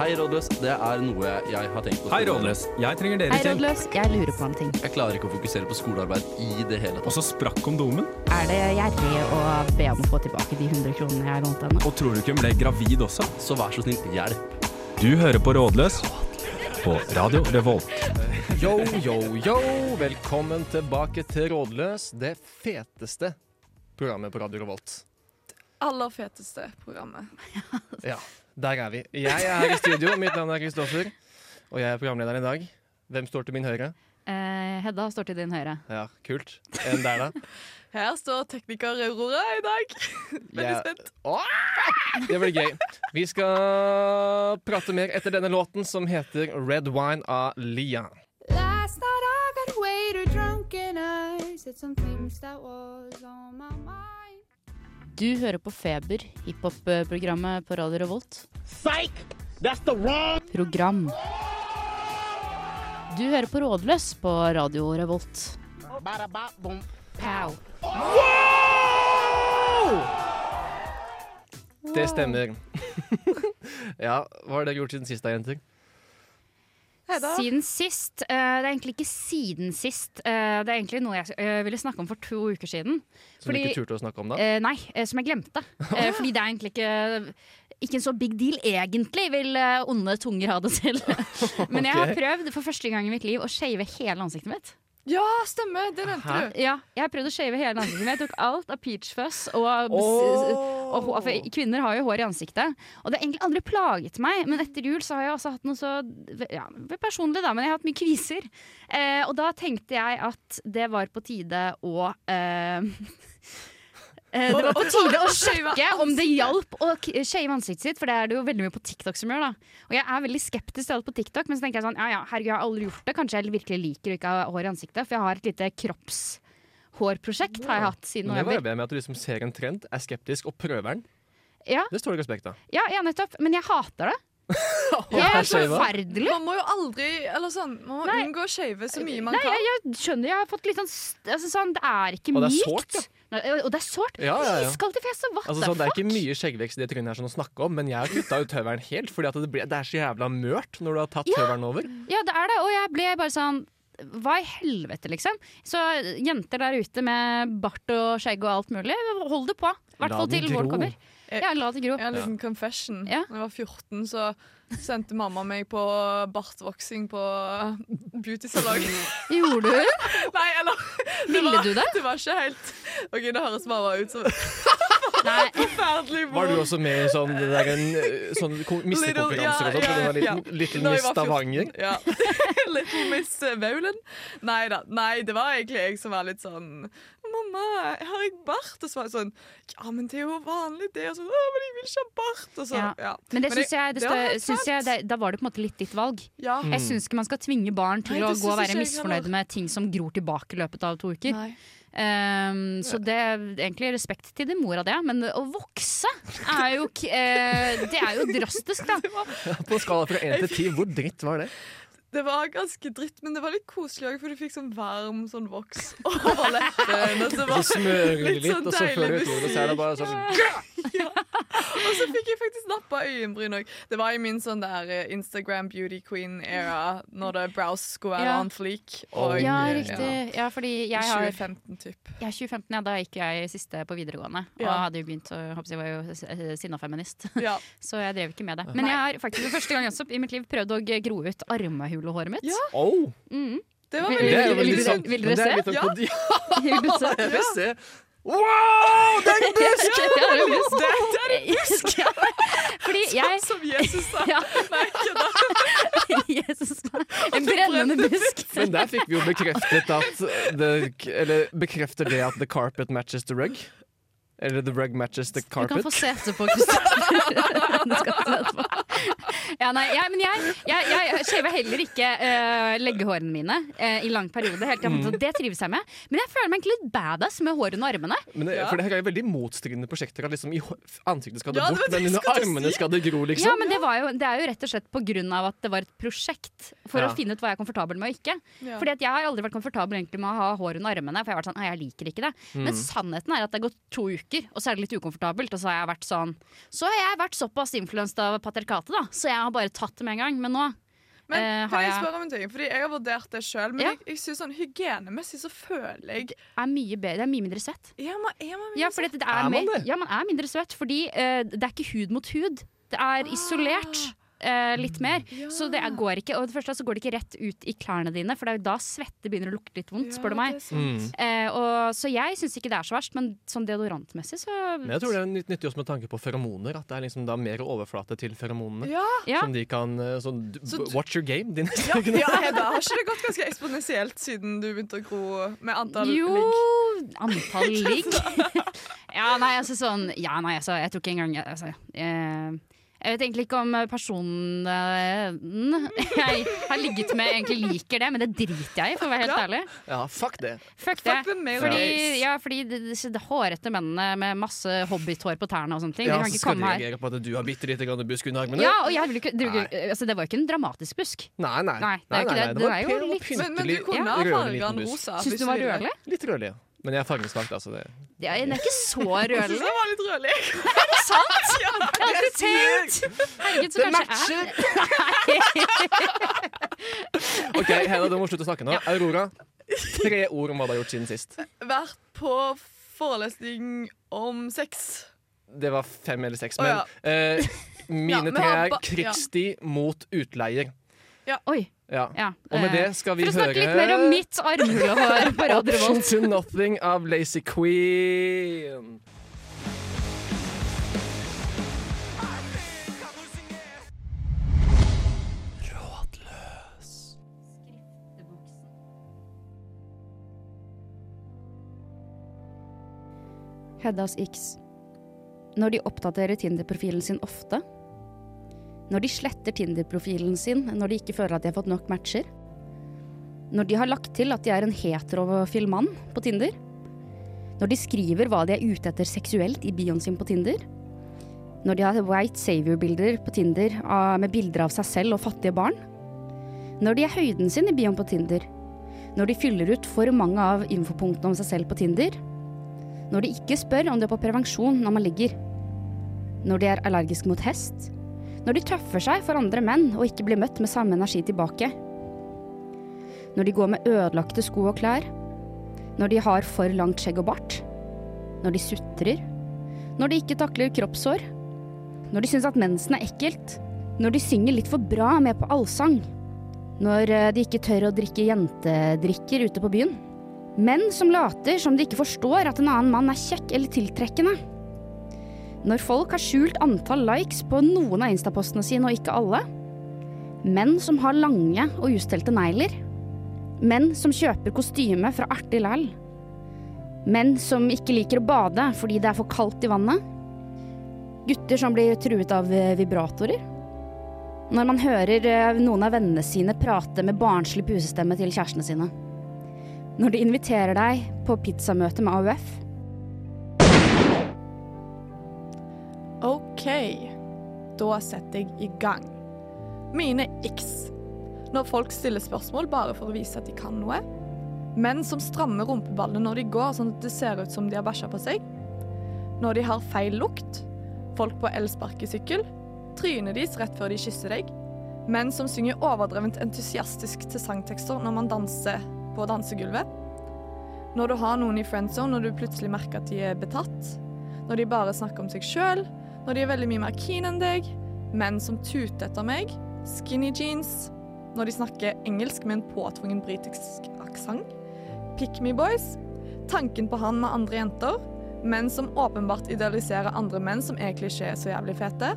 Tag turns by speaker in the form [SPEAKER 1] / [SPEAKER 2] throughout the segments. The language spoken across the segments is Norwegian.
[SPEAKER 1] Hei, rådløs. Det er noe jeg har tenkt på.
[SPEAKER 2] Hei, Rådløs. Jeg trenger
[SPEAKER 3] Hei,
[SPEAKER 2] deres hjelp.
[SPEAKER 3] rådløs. Jeg lurer på en ting.
[SPEAKER 1] Jeg klarer ikke å fokusere på skolearbeid i det hele
[SPEAKER 2] Og
[SPEAKER 1] tatt.
[SPEAKER 2] så sprakk kondomen.
[SPEAKER 3] Er det gjerrig å be om å få tilbake de 100 kronene jeg har lånt henne?
[SPEAKER 2] Og tror du ikke hun ble gravid også?
[SPEAKER 1] Så vær så snill, hjelp.
[SPEAKER 2] Du hører på Rådløs på Radio Revolt.
[SPEAKER 4] Yo, yo, yo! Velkommen tilbake til Rådløs, det feteste programmet på Radio Revolt.
[SPEAKER 5] Aller feteste programmet.
[SPEAKER 4] Ja, der er vi. Jeg er her i studio, mitt navn er Kristoffer, og jeg er programlederen i dag. Hvem står til min høyre?
[SPEAKER 3] Eh, Hedda står til din høyre.
[SPEAKER 4] Ja, kult. En der, da.
[SPEAKER 5] Her står tekniker Aurora i dag. Veldig
[SPEAKER 4] Jeg-
[SPEAKER 5] spent.
[SPEAKER 4] Åh! Det blir gøy. Vi skal prate mer etter denne låten, som heter Red Wine av Lia.
[SPEAKER 6] Last night I got way too drunk and I said some things that was on my mind.
[SPEAKER 3] Du hører på Feber, hiphop-programmet på Radio Revolt. Program. Du hører på Rådløs på Radio Revolt. Pow.
[SPEAKER 4] Det stemmer. ja, hva har dere gjort siden sist da, jenter?
[SPEAKER 5] Hedda.
[SPEAKER 3] Siden sist. eh, det er egentlig ikke siden sist. Eh, det er egentlig noe jeg eh, ville snakke om for to uker siden.
[SPEAKER 4] Som
[SPEAKER 3] Fordi-
[SPEAKER 4] du ikke turte å snakke om da?
[SPEAKER 3] Eh, nei, eh, som jeg glemte. Eh, fordi det er egentlig ikke ikke en så big deal, egentlig, vil eh, onde tunger ha det til. Men jeg har
[SPEAKER 4] Ok.
[SPEAKER 3] prøvd for første gang i mitt liv å shave hele ansiktet mitt.
[SPEAKER 5] Ja, stemmer! Det nevnte
[SPEAKER 4] Hæ?
[SPEAKER 5] du.
[SPEAKER 3] Ja, Jeg har prøvd å shave hele ansiktet mitt. Jeg tok alt av peach fuzz og og hår, for kvinner har jo hår i ansiktet, og det har egentlig aldri plaget meg. Men etter jul så har jeg også hatt noe så ja, personlig, da, men jeg har hatt mye kviser. Eh, og da tenkte jeg at det var på tide å eh, eh, Det var på tide å sjekke om det hjalp å k- shave ansiktet sitt, for det er det jo veldig mye på TikTok som gjør. da Og jeg er veldig skeptisk til alt på TikTok, men så tenker jeg sånn ja ja, herregud, jeg har aldri gjort det. Kanskje jeg virkelig liker å ikke ha hår i ansiktet, for jeg har et lite kroppshårprosjekt har jeg hatt siden
[SPEAKER 4] Men det var jo
[SPEAKER 3] november.
[SPEAKER 4] det med at du liksom ser en trend, er skeptisk og prøver den.
[SPEAKER 3] Ja.
[SPEAKER 4] Det står det respekt av.
[SPEAKER 3] Ja, ja, nettopp. Men jeg hater det. Det er
[SPEAKER 4] skjeva.
[SPEAKER 3] forferdelig.
[SPEAKER 5] Man må jo aldri eller sånn, man må
[SPEAKER 3] Nei.
[SPEAKER 5] unngå å shave så mye man
[SPEAKER 3] Nei, jeg, jeg skjønner, jeg har fått litt sånn, st- altså, sånn Det er ikke
[SPEAKER 4] Og
[SPEAKER 3] mykt.
[SPEAKER 4] det er sårt,
[SPEAKER 3] Nei, og det er sårt.
[SPEAKER 4] Ja, ja, ja.
[SPEAKER 3] Iskaldt i fjeset. What
[SPEAKER 4] Altså,
[SPEAKER 3] the
[SPEAKER 4] sånn, det er
[SPEAKER 3] fuck?
[SPEAKER 4] ikke mye skjeggvekst i det trynet her sånn å snakke om, men jeg har kutta ut høvelen helt, fordi at det, blir, det er så jævla mørt når du har tatt høvelen over.
[SPEAKER 3] Ja, det er det. Og jeg ble bare sånn hva i helvete, liksom? Så jenter der ute med bart og skjegg og alt mulig, hold det på. I hvert
[SPEAKER 4] La
[SPEAKER 3] fall
[SPEAKER 4] det
[SPEAKER 3] til vår
[SPEAKER 4] gro.
[SPEAKER 3] kommer.
[SPEAKER 5] Eh,
[SPEAKER 3] Ja, la det gro.
[SPEAKER 5] Jeg har en liten confession.
[SPEAKER 3] Ja.
[SPEAKER 5] Da jeg var 14, så sendte mamma meg på bartvoksing på beautysalong.
[SPEAKER 3] Gjorde du?
[SPEAKER 5] Nei, eller
[SPEAKER 3] Ville
[SPEAKER 5] var,
[SPEAKER 3] du det?
[SPEAKER 5] Det var ikke helt OK, det høres mamma ut som
[SPEAKER 3] Nei.
[SPEAKER 5] forferdelig
[SPEAKER 4] Var du
[SPEAKER 5] mor.
[SPEAKER 4] også med i sånn, det der, en, eh, sånn ko- missekonkurranser og sånt?
[SPEAKER 5] Little- ja,
[SPEAKER 4] da du var
[SPEAKER 5] ja,
[SPEAKER 4] liten, Little
[SPEAKER 5] Da jeg
[SPEAKER 4] Miss
[SPEAKER 5] var 14.
[SPEAKER 4] Stavanger?
[SPEAKER 5] Ja. Little Miss Vaulen. Nei da. Nei, det var egentlig jeg som var litt sånn Mamma, har jeg bart? Og så var jeg sånn Ja, men det er jo vanlig, det. Og sånn, Å, men jeg vil ikke ha bart. Og så,
[SPEAKER 3] Ja.
[SPEAKER 5] ja.
[SPEAKER 3] Men det
[SPEAKER 5] Men det-
[SPEAKER 3] syns jeg, det
[SPEAKER 5] det var
[SPEAKER 3] stø-
[SPEAKER 5] helt
[SPEAKER 3] syns jeg det, Da var det på en måte litt ditt valg.
[SPEAKER 5] ja.
[SPEAKER 3] Jeg
[SPEAKER 4] Mm.
[SPEAKER 3] syns ikke man skal tvinge barn til
[SPEAKER 5] Nei, det
[SPEAKER 3] å gå
[SPEAKER 5] syns
[SPEAKER 3] og være
[SPEAKER 5] ikke jeg
[SPEAKER 3] misfornøyde
[SPEAKER 5] heller.
[SPEAKER 3] med ting som gror tilbake i løpet av to uker.
[SPEAKER 5] Nei.
[SPEAKER 3] Ehm, så det er egentlig respekt til din mor av det, men å vokse er jo, k- eh, det er jo drastisk, da.
[SPEAKER 4] På en skala fra én til ti, hvor dritt var det?
[SPEAKER 5] Det var ganske dritt, men det var litt koselig òg, for du fikk sånn varm sånn voks over leppen. Og så,
[SPEAKER 4] Så
[SPEAKER 5] var,
[SPEAKER 4] smører du
[SPEAKER 5] Litt
[SPEAKER 4] litt,
[SPEAKER 5] sånn
[SPEAKER 4] og så fører du
[SPEAKER 5] deilig
[SPEAKER 4] ut ordet, så er det bare sånn
[SPEAKER 5] og så fikk jeg faktisk nappa øyenbryn òg. Det var i min sånn der eh, Instagram beauty queen-era, når det brows skulle være
[SPEAKER 3] Ja.
[SPEAKER 5] on fleak.
[SPEAKER 4] Oh,
[SPEAKER 5] Og
[SPEAKER 3] Ja,
[SPEAKER 4] Ja.
[SPEAKER 3] riktig. Ja, fordi jeg har
[SPEAKER 5] 2015, typ.
[SPEAKER 3] jeg er 2015, ja, da gikk jeg siste på videregående. Og
[SPEAKER 5] Ja.
[SPEAKER 3] hadde jo begynt å håper jeg var jo eh, sinna feminist,
[SPEAKER 5] Ja.
[SPEAKER 3] så jeg drev ikke med det. Men jeg har faktisk for første gang også i mitt liv prøvd å gro ut armhulehåret mitt.
[SPEAKER 5] Ja.
[SPEAKER 4] Oh,
[SPEAKER 3] Mhm.
[SPEAKER 5] Det var
[SPEAKER 3] Vil-
[SPEAKER 4] det
[SPEAKER 5] veldig Liksom.
[SPEAKER 4] er jo veldig
[SPEAKER 3] vil- vil-
[SPEAKER 4] sant.
[SPEAKER 3] vil dere
[SPEAKER 4] Men det er
[SPEAKER 3] se?
[SPEAKER 4] litt sånn
[SPEAKER 5] Ja.
[SPEAKER 4] kodi-
[SPEAKER 3] Vil du se?
[SPEAKER 4] Jeg vil se. Wow, den busk!
[SPEAKER 3] Ja, det er en busk. Ja. Fordi jeg
[SPEAKER 5] Sånn som Jesus sa.
[SPEAKER 3] ja,
[SPEAKER 5] Nei, kødda.
[SPEAKER 3] Jesus, en brennende busk.
[SPEAKER 4] Men der fikk vi jo bekreftet at det, Eller bekrefter det at the carpet matches the rug? Eller the rug matches the
[SPEAKER 3] Du kan få
[SPEAKER 4] carpet?
[SPEAKER 3] se etterpå, Kristoffer. Du skal få se etterpå. Ja, nei, jeg, men jeg, jeg, jeg shaver heller ikke eh, leggehårene mine eh, i lang periode. Helt, til jeg fant ut at det trives jeg med. Men jeg føler meg egentlig litt badass med hår under armene.
[SPEAKER 4] Men
[SPEAKER 7] eh,
[SPEAKER 4] det,
[SPEAKER 5] Ja.
[SPEAKER 4] For det her er jo veldig motstridende prosjekter. At liksom i hå- ansiktet skal det
[SPEAKER 5] Ja, det var
[SPEAKER 4] bort,
[SPEAKER 5] det
[SPEAKER 4] men
[SPEAKER 5] jeg
[SPEAKER 4] under
[SPEAKER 5] skulle
[SPEAKER 4] armene
[SPEAKER 5] si.
[SPEAKER 4] skal det gro,
[SPEAKER 3] Ja,
[SPEAKER 4] liksom.
[SPEAKER 3] men det, var jo, det er jo rett og slett på grunn av at det var et prosjekt for
[SPEAKER 4] Ja.
[SPEAKER 3] å finne ut hva jeg er komfortabel med og ikke.
[SPEAKER 5] Ja.
[SPEAKER 3] Fordi at jeg har aldri vært komfortabel egentlig med å ha hår under armene, for jeg har vært sånn, «Nei, jeg liker ikke det. Men sannheten er at det har gått to uker, uker, og så er det litt ukomfortabelt. Og så har jeg vært sånn Så har jeg vært såpass influenset av patriarkatet, da, så jeg har bare tatt det med en gang. Men nå
[SPEAKER 5] Men
[SPEAKER 3] Eh, har
[SPEAKER 5] kan jeg
[SPEAKER 3] jeg-
[SPEAKER 5] spørre om en ting? Fordi jeg har vurdert det sjøl, men
[SPEAKER 3] Ja.
[SPEAKER 5] jeg, jeg synes sånn hygienemessig så føler jeg
[SPEAKER 3] er mye bedre, det er mye mindre svett.
[SPEAKER 5] Ja, man er man
[SPEAKER 3] Ja, for det, det er,
[SPEAKER 7] Er man
[SPEAKER 3] mer-
[SPEAKER 7] det?
[SPEAKER 3] Ja, man er mindre svett, fordi eh, det er ikke hud mot hud. Det er isolert.
[SPEAKER 7] Ah.
[SPEAKER 3] eh, litt mer, så det er, går ikke Og det første så går det ikke rett ut i klærne dine For det er jo da svette begynner å lukte litt vondt Spør du meg
[SPEAKER 7] Mm.
[SPEAKER 4] Mm.
[SPEAKER 3] Eh, og, Så jeg synes ikke det er så verst Men sånn deodorantmessig så
[SPEAKER 7] Men jeg tror det er nytt- nyttig også med tanke på feromoner. At det er liksom da mer overflate til feromonene.
[SPEAKER 5] Ja,
[SPEAKER 3] ja.
[SPEAKER 7] Som de kan eh, sånn, du-
[SPEAKER 5] Så du-
[SPEAKER 7] Watch your game, din.
[SPEAKER 5] ja, ja Hedda, har ikke det gått ganske eksponentielt siden du begynte å gro med antall
[SPEAKER 3] Jo,
[SPEAKER 5] ligg?
[SPEAKER 3] antall ligg Ja, nei, altså sånn Ja, nei, altså, jeg tror ikke engang jeg- altså, eh, Jeg vet egentlig ikke om eh, personen eh, jeg har ligget med egentlig liker det, men det driter jeg i, for å være helt
[SPEAKER 5] Ja.
[SPEAKER 3] ærlig.
[SPEAKER 7] Ja, fuck det.
[SPEAKER 3] Fuck det.
[SPEAKER 5] Fuck the male
[SPEAKER 3] Fordi,
[SPEAKER 5] gaze.
[SPEAKER 3] ja, fordi de- disse hårete mennene med masse hobbithår på tærne og sånne ting,
[SPEAKER 7] Ja,
[SPEAKER 3] de kan
[SPEAKER 7] så
[SPEAKER 3] ikke
[SPEAKER 7] skal de
[SPEAKER 3] komme her.
[SPEAKER 7] reagere på at du har bitte lite grann busk under armene.
[SPEAKER 3] Ja, og jeg vil ikke, det,
[SPEAKER 7] Nei.
[SPEAKER 3] altså, det var jo ikke en dramatisk busk.
[SPEAKER 7] Nei, nei.
[SPEAKER 3] Nei, det er jo ikke det.
[SPEAKER 7] var
[SPEAKER 3] Den er jo
[SPEAKER 7] pen og
[SPEAKER 3] litt-
[SPEAKER 5] Men, men du
[SPEAKER 7] pyntelig,
[SPEAKER 5] kunne ha
[SPEAKER 7] rørende
[SPEAKER 5] farga
[SPEAKER 7] liten
[SPEAKER 5] den
[SPEAKER 7] busk.
[SPEAKER 5] rosa.
[SPEAKER 3] Syns du den var rødlig?
[SPEAKER 7] Litt rødlig, ja. Men jeg er fargesvakt, altså. Det.
[SPEAKER 3] Ja, Den er ikke så rødlig.
[SPEAKER 5] Den var litt rødlig.
[SPEAKER 3] Er det sant? Jeg hadde ikke tenkt! Herregud, så kanskje jeg er
[SPEAKER 7] OK, Hedda, du må slutte å snakke nå. Aurora, tre ord om hva du har gjort siden sist.
[SPEAKER 5] Vært på forelesning om sex.
[SPEAKER 7] Det var fem eller seks,
[SPEAKER 5] Å,
[SPEAKER 7] men
[SPEAKER 5] ja.
[SPEAKER 7] eh,
[SPEAKER 5] Ja,
[SPEAKER 7] mine
[SPEAKER 5] men
[SPEAKER 7] tre
[SPEAKER 5] han
[SPEAKER 7] er
[SPEAKER 5] ba-
[SPEAKER 7] krigssti mot utleier.
[SPEAKER 3] Oi.
[SPEAKER 7] Ja.
[SPEAKER 3] Ja.
[SPEAKER 7] Og
[SPEAKER 3] eh,
[SPEAKER 7] med det skal vi
[SPEAKER 3] For å
[SPEAKER 7] høre
[SPEAKER 3] snakke litt mer om mitt armhulehår på Radio
[SPEAKER 7] Option
[SPEAKER 3] Revolt.
[SPEAKER 7] to nothing av Lazy Queen.
[SPEAKER 6] Heddas X. Når de oppdaterer Tinder-profilen sin ofte. Når de sletter Tinder-profilen sin når de ikke føler at de har fått nok matcher. Når de har lagt til at de er en heterofil mann på Tinder. Når de skriver hva de er ute etter seksuelt i bioen sin på Tinder. Når de har white savior-bilder på Tinder av- med bilder av seg selv og fattige barn. Når de er høyden sin i bioen på Tinder. Når de fyller ut for mange av infopunktene om seg selv på Tinder. Når de ikke spør om du er på prevensjon når man ligger. Når de er allergisk mot hest. Når de tøffer seg for andre menn og ikke blir møtt med samme energi tilbake. Når de går med ødelagte sko og klær. Når de har for langt skjegg og bart. Når de sutrer. Når de ikke takler kroppssår. Når de syns at mensen er ekkelt. Når de synger litt for bra med på allsang. Når eh, de ikke tør å drikke jentedrikker ute på byen. Menn som later som de ikke forstår at en annen mann er kjekk eller tiltrekkende. Når folk har skjult antall likes på noen av instapostene sine og ikke alle. Menn som har lange og ustelte negler. Menn som kjøper kostyme fra artig lall. Menn som ikke liker å bade fordi det er for kaldt i vannet. Gutter som blir truet av eh, vibratorer. Når man hører eh, noen av vennene sine prate med barnslig pusestemme til kjærestene sine. Når de inviterer deg på pizzamøte med AUF.
[SPEAKER 5] OK, da setter jeg i gang. Mine x. Når folk stiller spørsmål bare for å vise at de kan noe. Menn som strammer rumpeballene når de går sånn at det ser ut som de har bæsja på seg. Når de har feil lukt. Folk på elsparkesykkel. Trynet deres rett før de kysser deg. Menn som synger overdrevent entusiastisk til sangtekster når man danser på dansegulvet. Når du har noen i friendzone og du plutselig merker at de er betatt. Når de bare snakker om seg sjøl når de er veldig mye mer keen enn deg, menn som tuter etter meg, skinny jeans, når de snakker engelsk med en påtvungen britisk aksent, pick me boys, tanken på han med andre jenter, menn som åpenbart idealiserer andre menn som egentlig ikke er så jævlig fete,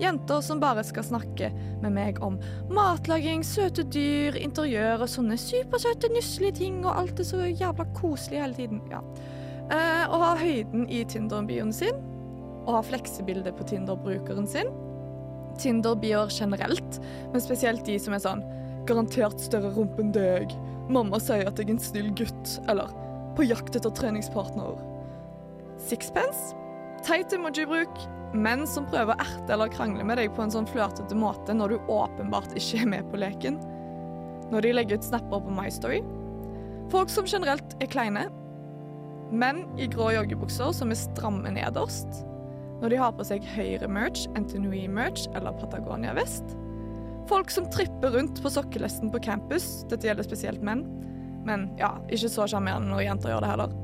[SPEAKER 5] jenter som bare skal snakke med meg om matlaging, søte dyr, interiør og sånne supersøte, nusselige ting, og alt er så jævla koselig hele tiden. Ja. Eh, og har høyden i Tinder-bioen sin å ha fleksebilde på Tinder-brukeren sin. Tinder-bioer generelt, men spesielt de som er sånn Garantert større rumpe enn deg. Mamma sier at jeg er en snill gutt. Eller på jakt etter treningspartner. Sixpence? Teit emoji-bruk. Menn som prøver å erte eller krangle med deg på en sånn flørtete måte når du åpenbart ikke er med på leken. Når de legger ut snapper på MyStory. Folk som generelt er kleine. Menn i grå joggebukser som er stramme nederst. Når de har på seg Høyre-merch, NTNUI-merch eller Patagonia-vest. Folk som tripper rundt på sokkelesten på campus. Dette gjelder spesielt menn. Men ja, ikke så sjarmerende når jenter gjør det heller.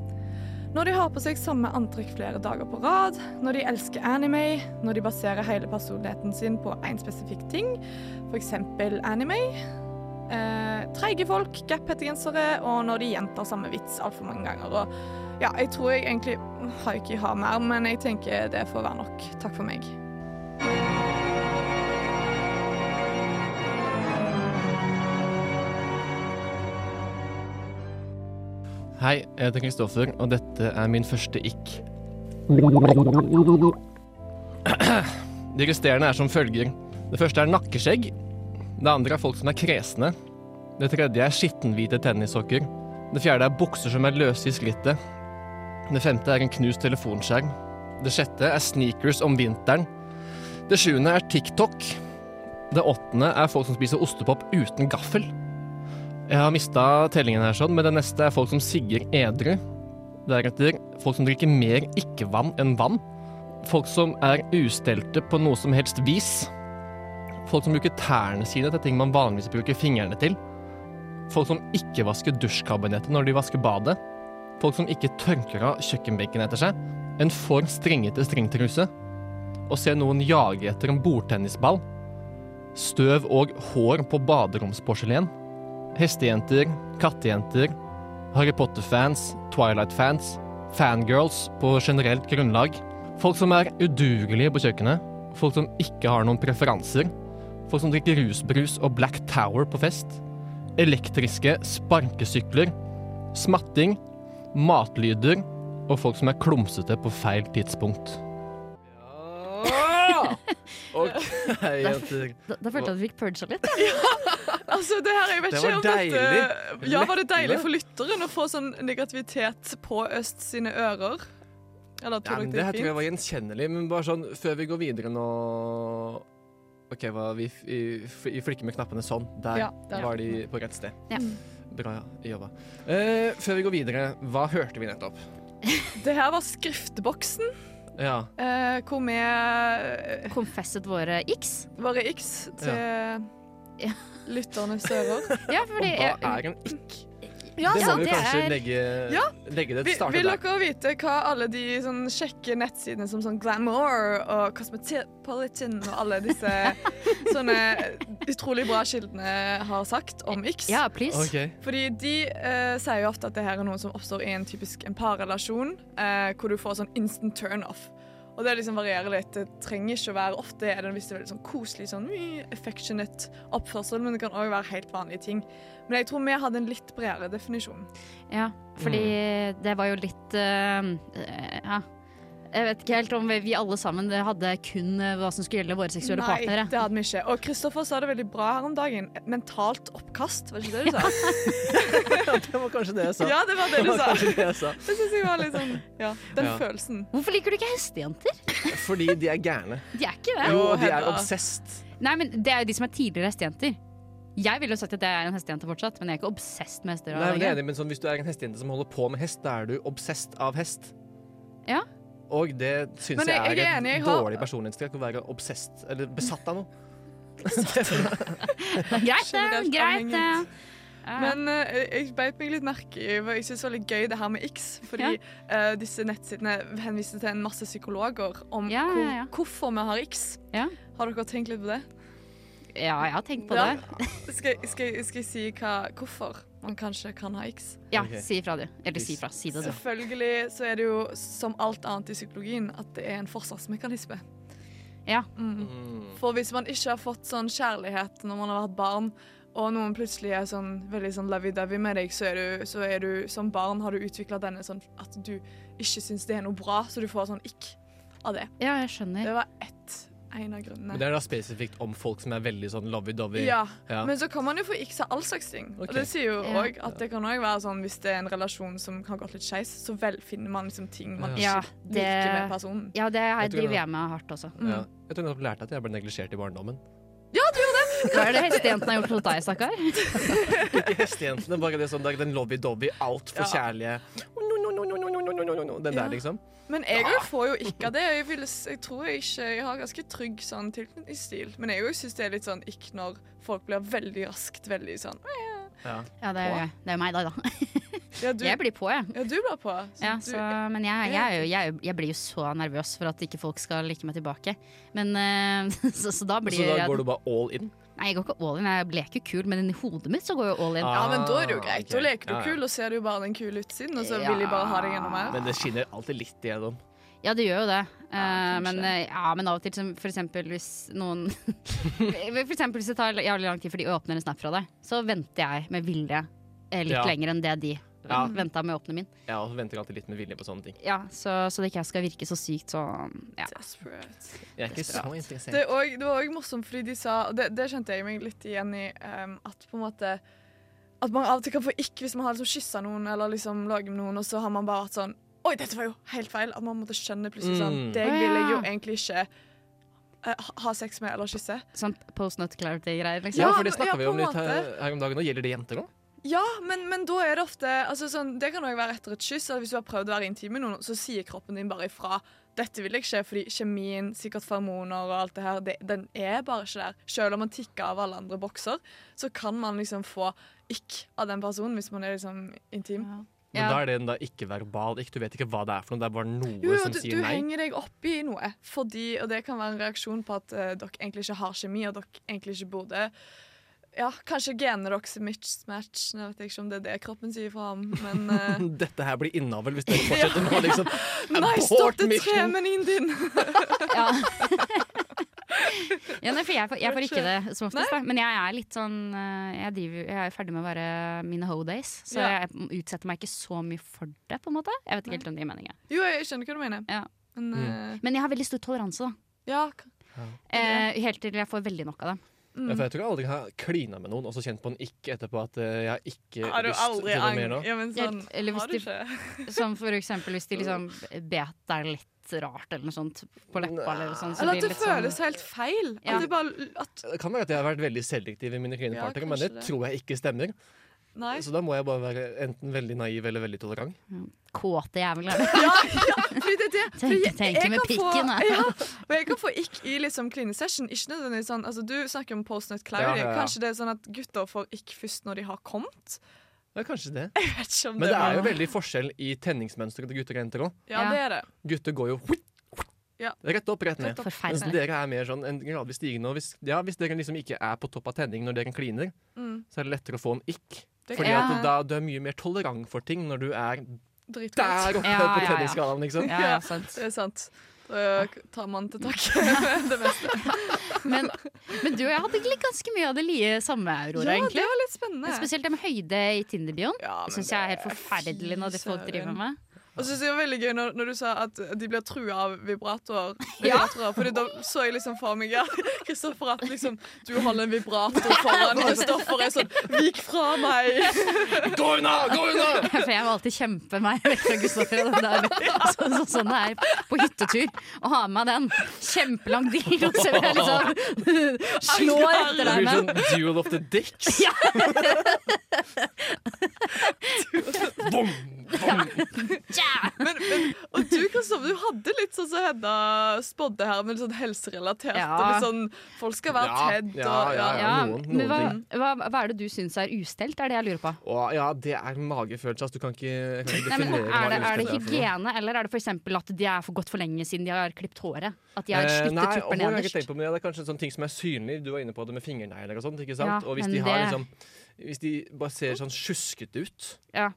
[SPEAKER 5] Når de har på seg samme antrekk flere dager på rad, når de elsker anime, når de baserer hele personligheten sin på én spesifikk ting, f.eks. anime. Eh, Treige folk, gap-hettegensere, og når de gjentar samme vits altfor mange ganger. Og ja, jeg tror jeg egentlig har ikke har mer, men jeg tenker det får være nok. Takk for meg.
[SPEAKER 4] Hei, jeg heter Kristoffer, og dette er min første ikk. De resterende er som følger. Det første er nakkeskjegg. Det andre er folk som er kresne. Det tredje er skittenhvite tennissokker. Det fjerde er bukser som er løse i skrittet. Det femte er en knust telefonskjerm. Det sjette er sneakers om vinteren. Det sjuende er TikTok. Det åttende er folk som spiser ostepop uten gaffel. Jeg har mista tellingen her, sånn, men det neste er folk som sigger edru. Deretter folk som drikker mer ikke-vann enn vann. Folk som er ustelte på noe som helst vis. Folk som bruker tærne sine til ting man vanligvis bruker fingrene til. Folk som ikke vasker dusjkabinettet når de vasker badet. Folk som ikke tørker av kjøkkenbenken etter seg. En for strengete stringtruse. Å se noen jage etter en bordtennisball. Støv og hår på baderomsporselen. Hestejenter, kattejenter, Harry Potter-fans, Twilight-fans, fangirls på generelt grunnlag. Folk som er udugelige på kjøkkenet. Folk som ikke har noen preferanser. Folk som drikker rusbrus og Black Tower på fest. Elektriske sparkesykler. Smatting. Matlyder. Og folk som er klumsete på feil tidspunkt. OK, jenter.
[SPEAKER 8] Da, da følte jeg at vi fikk purga litt.
[SPEAKER 5] Altså, det her, jeg vet
[SPEAKER 4] Det
[SPEAKER 5] ikke
[SPEAKER 4] var
[SPEAKER 5] om dette-
[SPEAKER 4] deilig.
[SPEAKER 5] Ja, var det deilig
[SPEAKER 4] Lettende.
[SPEAKER 5] for lytteren å få sånn negativitet påøst sine ører? Eller
[SPEAKER 4] Ja,
[SPEAKER 5] tror
[SPEAKER 4] men
[SPEAKER 5] dere det
[SPEAKER 4] det her
[SPEAKER 5] er
[SPEAKER 4] tror jeg
[SPEAKER 5] fint?
[SPEAKER 4] var gjenkjennelig, men bare sånn før vi går videre nå OK, var vi f- i, f- i flikker med knappene sånn. Der
[SPEAKER 5] Ja, der.
[SPEAKER 4] var de på rett sted.
[SPEAKER 8] Ja.
[SPEAKER 4] Bra jobba. Eh, før vi går videre, hva hørte vi nettopp?
[SPEAKER 5] Det her var skriftboksen,
[SPEAKER 4] Ja,
[SPEAKER 5] eh, hvor vi eh,
[SPEAKER 3] Konfesset våre x.
[SPEAKER 5] våre x til
[SPEAKER 3] Ja.
[SPEAKER 5] lytternes ører.
[SPEAKER 3] Ja, fordi
[SPEAKER 4] Og
[SPEAKER 3] jeg,
[SPEAKER 4] hva er en ikk?
[SPEAKER 5] Ja,
[SPEAKER 4] det må
[SPEAKER 3] sant,
[SPEAKER 4] vi
[SPEAKER 3] det
[SPEAKER 4] kanskje
[SPEAKER 3] er-
[SPEAKER 4] legge,
[SPEAKER 5] Ja.
[SPEAKER 4] legge det
[SPEAKER 5] Vi-
[SPEAKER 4] til starte
[SPEAKER 5] Vil
[SPEAKER 4] der.
[SPEAKER 5] dere vite hva alle de sånn, kjekke nettsidene som sånn Glamour og Cosmopolitan og alle disse sånne utrolig bra kildene har sagt om X?
[SPEAKER 3] ja, please.
[SPEAKER 4] OK.
[SPEAKER 5] Fordi de eh, sier jo ofte at det her er noe som oppstår i en typisk en parrelasjon, eh, hvor du får sånn instant turn-off. Og det liksom varierer litt. Det trenger ikke å være ofte er det en viss veldig sånn koselig, sånn mm, affectionate oppførsel, men det kan òg være helt vanlige ting. Men jeg tror vi hadde en litt bredere definisjon.
[SPEAKER 3] Ja, fordi det var jo litt eh, eh, Ja. Jeg vet ikke helt om vi vi alle sammen hadde kun eh, hva som skulle gjelde våre seksuelle
[SPEAKER 5] Nei,
[SPEAKER 3] partnere.
[SPEAKER 5] det hadde vi ikke. Og Kristoffer sa det veldig bra her om dagen. Et mentalt oppkast, var det ikke det du sa?
[SPEAKER 4] Ja, det var kanskje det jeg sa.
[SPEAKER 5] ja, det var det du
[SPEAKER 4] Det var
[SPEAKER 5] sa.
[SPEAKER 4] kanskje det jeg sa.
[SPEAKER 5] Det syns jeg var litt sånn Ja, den
[SPEAKER 4] Ja.
[SPEAKER 5] følelsen.
[SPEAKER 3] Hvorfor liker du ikke hestejenter?
[SPEAKER 4] Fordi de er gærne.
[SPEAKER 3] De er ikke det.
[SPEAKER 4] Jo,
[SPEAKER 5] Å,
[SPEAKER 4] de er
[SPEAKER 5] Hedda.
[SPEAKER 4] obsessed.
[SPEAKER 3] Nei, men Det er jo de som er tidligere hestejenter. Jeg ville jo sagt at jeg er en hestejente fortsatt, men jeg er ikke obsesst med hester.
[SPEAKER 4] Nei,
[SPEAKER 3] og
[SPEAKER 4] men det er
[SPEAKER 3] lenger.
[SPEAKER 4] enig, men sånn, hvis du er en hestejente som holder på med hest, da er du obsessed av hest.
[SPEAKER 3] Ja.
[SPEAKER 4] Og det syns
[SPEAKER 5] Men
[SPEAKER 4] jeg,
[SPEAKER 5] jeg- jeg er
[SPEAKER 4] er
[SPEAKER 5] enig, jeg
[SPEAKER 4] et
[SPEAKER 5] har-
[SPEAKER 4] dårlig personlighetstrekk å være obsessed, eller besatt av noe.
[SPEAKER 3] greit, det.
[SPEAKER 5] Generelt
[SPEAKER 3] Greit, det.
[SPEAKER 5] avhengig.
[SPEAKER 3] Ja.
[SPEAKER 5] Men eh, jeg beit meg litt merke i for Jeg synes det var litt gøy det her med X. Fordi eh, disse nettsidene henviser til en masse psykologer om
[SPEAKER 3] Ja, ja, ja.
[SPEAKER 5] Hvor, hvorfor vi har X.
[SPEAKER 3] Ja.
[SPEAKER 5] Har dere tenkt litt på det?
[SPEAKER 3] ja, jeg har tenkt på
[SPEAKER 5] Ja.
[SPEAKER 3] det.
[SPEAKER 5] Skal, jeg- skal, jeg- skal jeg si hva, hvorfor man kanskje kan ha X?
[SPEAKER 3] Ja,
[SPEAKER 4] Ok.
[SPEAKER 3] Si ifra, du. Eller si ifra. Si det, du.
[SPEAKER 5] Selvfølgelig så er det jo som alt annet i psykologien at det er en forsvarsmekanisme.
[SPEAKER 3] Ja.
[SPEAKER 5] Mm. For hvis man ikke har fått sånn kjærlighet når man har vært barn, og noen plutselig er sånn veldig sånn lovey-dovey med deg, så er, du, så er du som barn har du utvikla denne sånn at du ikke syns det er noe bra, så du får sånn ikk av det.
[SPEAKER 3] Ja, jeg skjønner.
[SPEAKER 5] Det var ett en
[SPEAKER 4] Men
[SPEAKER 5] av
[SPEAKER 4] det
[SPEAKER 5] grunnene.
[SPEAKER 4] er da spesifikt om folk som er veldig sånn lovey-dovey.
[SPEAKER 5] Ja,
[SPEAKER 4] Ja.
[SPEAKER 5] men så kan man jo få x av all slags ting. Og
[SPEAKER 4] Ok.
[SPEAKER 5] det sier jo
[SPEAKER 3] Ja.
[SPEAKER 5] òg at det kan også være sånn hvis det er en relasjon som har gått litt skeis, så velfinner man liksom ting man ikke
[SPEAKER 3] Ja,
[SPEAKER 5] liker med
[SPEAKER 3] det,
[SPEAKER 5] personen.
[SPEAKER 3] ja, det
[SPEAKER 4] Jeg tror
[SPEAKER 3] driver
[SPEAKER 4] det-
[SPEAKER 3] jeg med hardt også.
[SPEAKER 4] Ja. Jeg tror nettopp lærte at jeg ble neglisjert i barndommen.
[SPEAKER 3] Hva er det hestejentene har gjort mot deg, stakkar?
[SPEAKER 4] Ikke hestejentene, bare det sånn der den lovey-dovey, altfor
[SPEAKER 5] Ja.
[SPEAKER 4] kjærlige. No, no, no, no, no, no, no,
[SPEAKER 7] Den
[SPEAKER 5] Ja.
[SPEAKER 7] der, liksom.
[SPEAKER 5] Men jeg òg får jo ikke det. Jeg, vil, s- jeg tror jeg ikke Jeg har ganske trygg sånn tilknytningsstil. Men jeg òg syns det er litt sånn ikke når folk blir veldig raskt veldig sånn
[SPEAKER 3] Ja, det er, det er meg, da. da.
[SPEAKER 5] Ja, du,
[SPEAKER 3] Jeg blir på, jeg.
[SPEAKER 5] ja, du blir på. Så
[SPEAKER 3] Ja,
[SPEAKER 5] du-
[SPEAKER 3] så, men jeg, jeg, er jo, jeg, er jo- jeg blir jo så nervøs for at ikke folk skal like meg tilbake. Men eh, så, så da blir
[SPEAKER 7] Så da
[SPEAKER 3] jeg-
[SPEAKER 7] går du bare all in?
[SPEAKER 3] Nei, jeg går ikke all in. Jeg leker jo kul, men inni hodet mitt så går jeg jo all in.
[SPEAKER 5] ja, men da er det jo
[SPEAKER 7] Ah,
[SPEAKER 5] greit.
[SPEAKER 7] ok.
[SPEAKER 5] Da leker du
[SPEAKER 7] Ja, ja.
[SPEAKER 5] kul, og ser du bare den kule utsiden, og så vil de bare ha deg enda mer.
[SPEAKER 7] Men det skinner alltid litt igjennom.
[SPEAKER 3] Ja, det gjør jo det.
[SPEAKER 5] Ja,
[SPEAKER 3] Eh, men,
[SPEAKER 5] kanskje.
[SPEAKER 3] eh, ja, men av og til, som for eksempel hvis noen For eksempel hvis det tar jævlig lang tid før de åpner en snap fra deg, så venter jeg med vilje eh, litt
[SPEAKER 7] Ja.
[SPEAKER 3] lenger enn det de
[SPEAKER 7] Ja.
[SPEAKER 3] venta med å åpne min.
[SPEAKER 7] Ja, og så venter jeg alltid litt med vilje på sånne ting.
[SPEAKER 3] Ja, så, så det ikke jeg skal virke så sykt sånn ja.
[SPEAKER 5] Desperate.
[SPEAKER 7] Jeg er ikke så interessert.
[SPEAKER 5] Det, er også- det var òg morsomt fordi de sa og det, det kjente jeg meg litt igjen i. em, at på en måte At man av og til kan få ikk hvis man har liksom kyssa noen eller liksom ligget med noen, og så har man bare vært sånn Oi, dette var jo helt feil. At man måtte skjønne plutselig sånn
[SPEAKER 7] Mm.
[SPEAKER 5] Det
[SPEAKER 3] Å,
[SPEAKER 5] vil jeg jo
[SPEAKER 3] ja.
[SPEAKER 5] egentlig ikke eh, ha- ha sex med eller kysse.
[SPEAKER 3] Sånn post not clarity-greier, liksom.
[SPEAKER 7] Ja,
[SPEAKER 5] Ja,
[SPEAKER 7] for det
[SPEAKER 5] men- ja,
[SPEAKER 7] snakka vi
[SPEAKER 5] på
[SPEAKER 7] om
[SPEAKER 5] en
[SPEAKER 7] litt her, her om dagen. Og gjelder det jenter òg?
[SPEAKER 5] Ja, men, men da er det ofte altså sånn, Det kan òg være etter et kyss. Eller hvis du har prøvd å være intim med noen, så sier kroppen din bare ifra. Dette vil jeg ikke, fordi kjemien, sikkert hormoner og alt det her, det, den er bare ikke der. Selv om man tikker av alle andre bokser, så kan man liksom få ikk av den personen hvis man er liksom intim.
[SPEAKER 7] Men
[SPEAKER 3] Ja.
[SPEAKER 7] da er det den da ikke-verbal ikk. Du vet ikke hva det er for noe. Det er bare noe
[SPEAKER 5] Jo, jo,
[SPEAKER 7] som
[SPEAKER 5] du,
[SPEAKER 7] sier
[SPEAKER 5] du
[SPEAKER 7] nei.
[SPEAKER 5] henger deg opp i noe, fordi, og det kan være en reaksjon på at eh, dere egentlig ikke har kjemi, og dere egentlig ikke burde Ja, kanskje genene deres er mismatch, jeg vet ikke om det er det kroppen sier fra om, men eh,
[SPEAKER 7] Dette her blir innavl hvis dere fortsetter nå, liksom.
[SPEAKER 5] Nei,
[SPEAKER 7] Abort
[SPEAKER 5] stopp det
[SPEAKER 7] mission.
[SPEAKER 5] tremenien din!
[SPEAKER 3] Ja. ja, nei, for jeg, får- jeg får ikke det som oftest, da. men jeg er litt sånn eh, Jeg, driver, jeg er jo ferdig med å være mine hoe days, så
[SPEAKER 5] Ja.
[SPEAKER 3] jeg utsetter meg ikke så mye for det, på en måte. Jeg vet ikke helt om det gir mening. jeg.
[SPEAKER 5] Jo, jeg skjønner hva du mener.
[SPEAKER 3] Ja.
[SPEAKER 5] Men eh,
[SPEAKER 3] Men jeg har veldig stor toleranse, da.
[SPEAKER 5] ja, k-
[SPEAKER 3] Eh, helt til jeg får veldig nok av det.
[SPEAKER 7] Ja, for jeg tror jeg aldri har klina med noen og så kjent på en ikk etterpå at eh, jeg har ikke
[SPEAKER 5] har du
[SPEAKER 7] lyst
[SPEAKER 5] aldri
[SPEAKER 7] til noe mer
[SPEAKER 5] angre?
[SPEAKER 7] nå.
[SPEAKER 5] Ja, men sånn,
[SPEAKER 3] Helt- eller hvis
[SPEAKER 5] har du
[SPEAKER 3] de-
[SPEAKER 5] ikke?
[SPEAKER 3] Som for eksempel hvis de liksom bet deg litt rart eller noe sånt på leppa eller noe sånt. så
[SPEAKER 5] Eller
[SPEAKER 3] blir
[SPEAKER 5] at det
[SPEAKER 3] litt sånn-
[SPEAKER 5] føles helt feil.
[SPEAKER 3] Ja.
[SPEAKER 5] At det bare at,
[SPEAKER 7] Det kan være at jeg har vært veldig selektiv i mine klinepartnere,
[SPEAKER 5] Ja,
[SPEAKER 7] men det,
[SPEAKER 5] kanskje det.
[SPEAKER 7] tror jeg ikke stemmer.
[SPEAKER 5] Nei.
[SPEAKER 7] Så da må jeg bare være enten veldig naiv eller veldig tolerant.
[SPEAKER 3] Kåte jævler.
[SPEAKER 5] Fordi det er det.
[SPEAKER 3] Tenk-
[SPEAKER 5] Fordi jeg-
[SPEAKER 3] tenk
[SPEAKER 5] jeg
[SPEAKER 3] med
[SPEAKER 5] kan få-
[SPEAKER 3] pikken, da.
[SPEAKER 5] Ja, og jeg kan få ikk i liksom klinesession. Ikke nødvendigvis sånn altså, Du snakker om postnut clarity.
[SPEAKER 7] Ja, ja, ja.
[SPEAKER 5] Kanskje det er sånn at gutter får ikk først når de har kommet?
[SPEAKER 7] Ja, kanskje det.
[SPEAKER 5] Jeg vet ikke om
[SPEAKER 7] Men det er jo
[SPEAKER 5] var-
[SPEAKER 7] veldig forskjell i tenningsmønsteret til gutter og jenter òg.
[SPEAKER 5] Ja, det er det.
[SPEAKER 7] Gutter går jo
[SPEAKER 5] Ja.
[SPEAKER 7] rett opp, rett ned. Mens
[SPEAKER 3] Forferdelig.
[SPEAKER 7] dere er mer sånn en gradvis stigende. Og hvis, ja, hvis dere liksom ikke er på topp av tenning når dere kliner,
[SPEAKER 5] Mm.
[SPEAKER 7] så er det lettere å få en ikk.
[SPEAKER 5] Det
[SPEAKER 7] Fordi
[SPEAKER 3] Ja.
[SPEAKER 7] at da du er mye mer tolerant for ting når du er
[SPEAKER 5] Dritgodt.
[SPEAKER 7] der oppe
[SPEAKER 3] Ja, ja,
[SPEAKER 7] på
[SPEAKER 3] ja.
[SPEAKER 7] tenningsskalaen, liksom.
[SPEAKER 3] Ja, ja, sant.
[SPEAKER 5] Det er sant. Da tar man til takke med det meste.
[SPEAKER 3] Men, men du og jeg hadde egentlig ganske mye av det like samme, Aurora.
[SPEAKER 5] Ja,
[SPEAKER 3] egentlig.
[SPEAKER 5] det var litt spennende.
[SPEAKER 3] Spesielt det med høyde i Tinder-bioen.
[SPEAKER 5] Ja, men
[SPEAKER 3] Det syns jeg er helt
[SPEAKER 5] det-
[SPEAKER 3] forferdelig når det
[SPEAKER 5] fy
[SPEAKER 3] folk driver
[SPEAKER 5] søren.
[SPEAKER 3] med.
[SPEAKER 5] Og så synes jeg det var veldig gøy når, når du sa at de blir trua av vibratorer. vibratorer Fordi da så jeg liksom for meg ja, Kristoffer at liksom du holder en vibrator foran Kristoffer er sånn Vik fra meg!
[SPEAKER 7] Gå unna! Gå unna!
[SPEAKER 3] For jeg må alltid kjempe meg vekk fra Gustav. og Det er så, så, sånn det er på hyttetur. Å ha med meg den. Kjempelang dildo. Så jeg liksom slår etter
[SPEAKER 7] Det
[SPEAKER 3] deg
[SPEAKER 7] blir
[SPEAKER 3] med.
[SPEAKER 7] sånn duel of the dicks.
[SPEAKER 3] Ja.
[SPEAKER 7] Bom! Bom!
[SPEAKER 3] Ja!
[SPEAKER 5] Men, men, og du Kristoffer, du hadde litt sånn som Hedda spådde her, med litt sånn helserelatert.
[SPEAKER 3] Ja.
[SPEAKER 5] Og litt sånn, folk skal være
[SPEAKER 7] Ja,
[SPEAKER 5] tedd
[SPEAKER 7] ja,
[SPEAKER 5] og ja.
[SPEAKER 3] Ja,
[SPEAKER 7] noen-
[SPEAKER 3] men
[SPEAKER 7] noen
[SPEAKER 3] hva, hva, hva er det du syns er ustelt? Er det jeg lurer på.
[SPEAKER 7] Og ja, det er magefølelse. Altså, du kan ikke, jeg kan ikke
[SPEAKER 3] Nei, men
[SPEAKER 7] definere
[SPEAKER 3] er det, er det
[SPEAKER 7] for noe.
[SPEAKER 3] hygiene, eller er det f.eks. at de er for gått for lenge siden de har klippet håret? At de har slitt
[SPEAKER 7] Eh, nei, og
[SPEAKER 3] tupper
[SPEAKER 7] det har jeg ikke
[SPEAKER 3] nederst?
[SPEAKER 7] tenkt på, men det er kanskje sånne ting som er synlige. Du var inne på det med fingernegler og sånt. ikke sant?
[SPEAKER 3] Ja,
[SPEAKER 7] og hvis
[SPEAKER 3] men
[SPEAKER 7] de, har,
[SPEAKER 3] det-
[SPEAKER 7] liksom, hvis de bare ser sånn sjuskete ut,
[SPEAKER 3] Ja,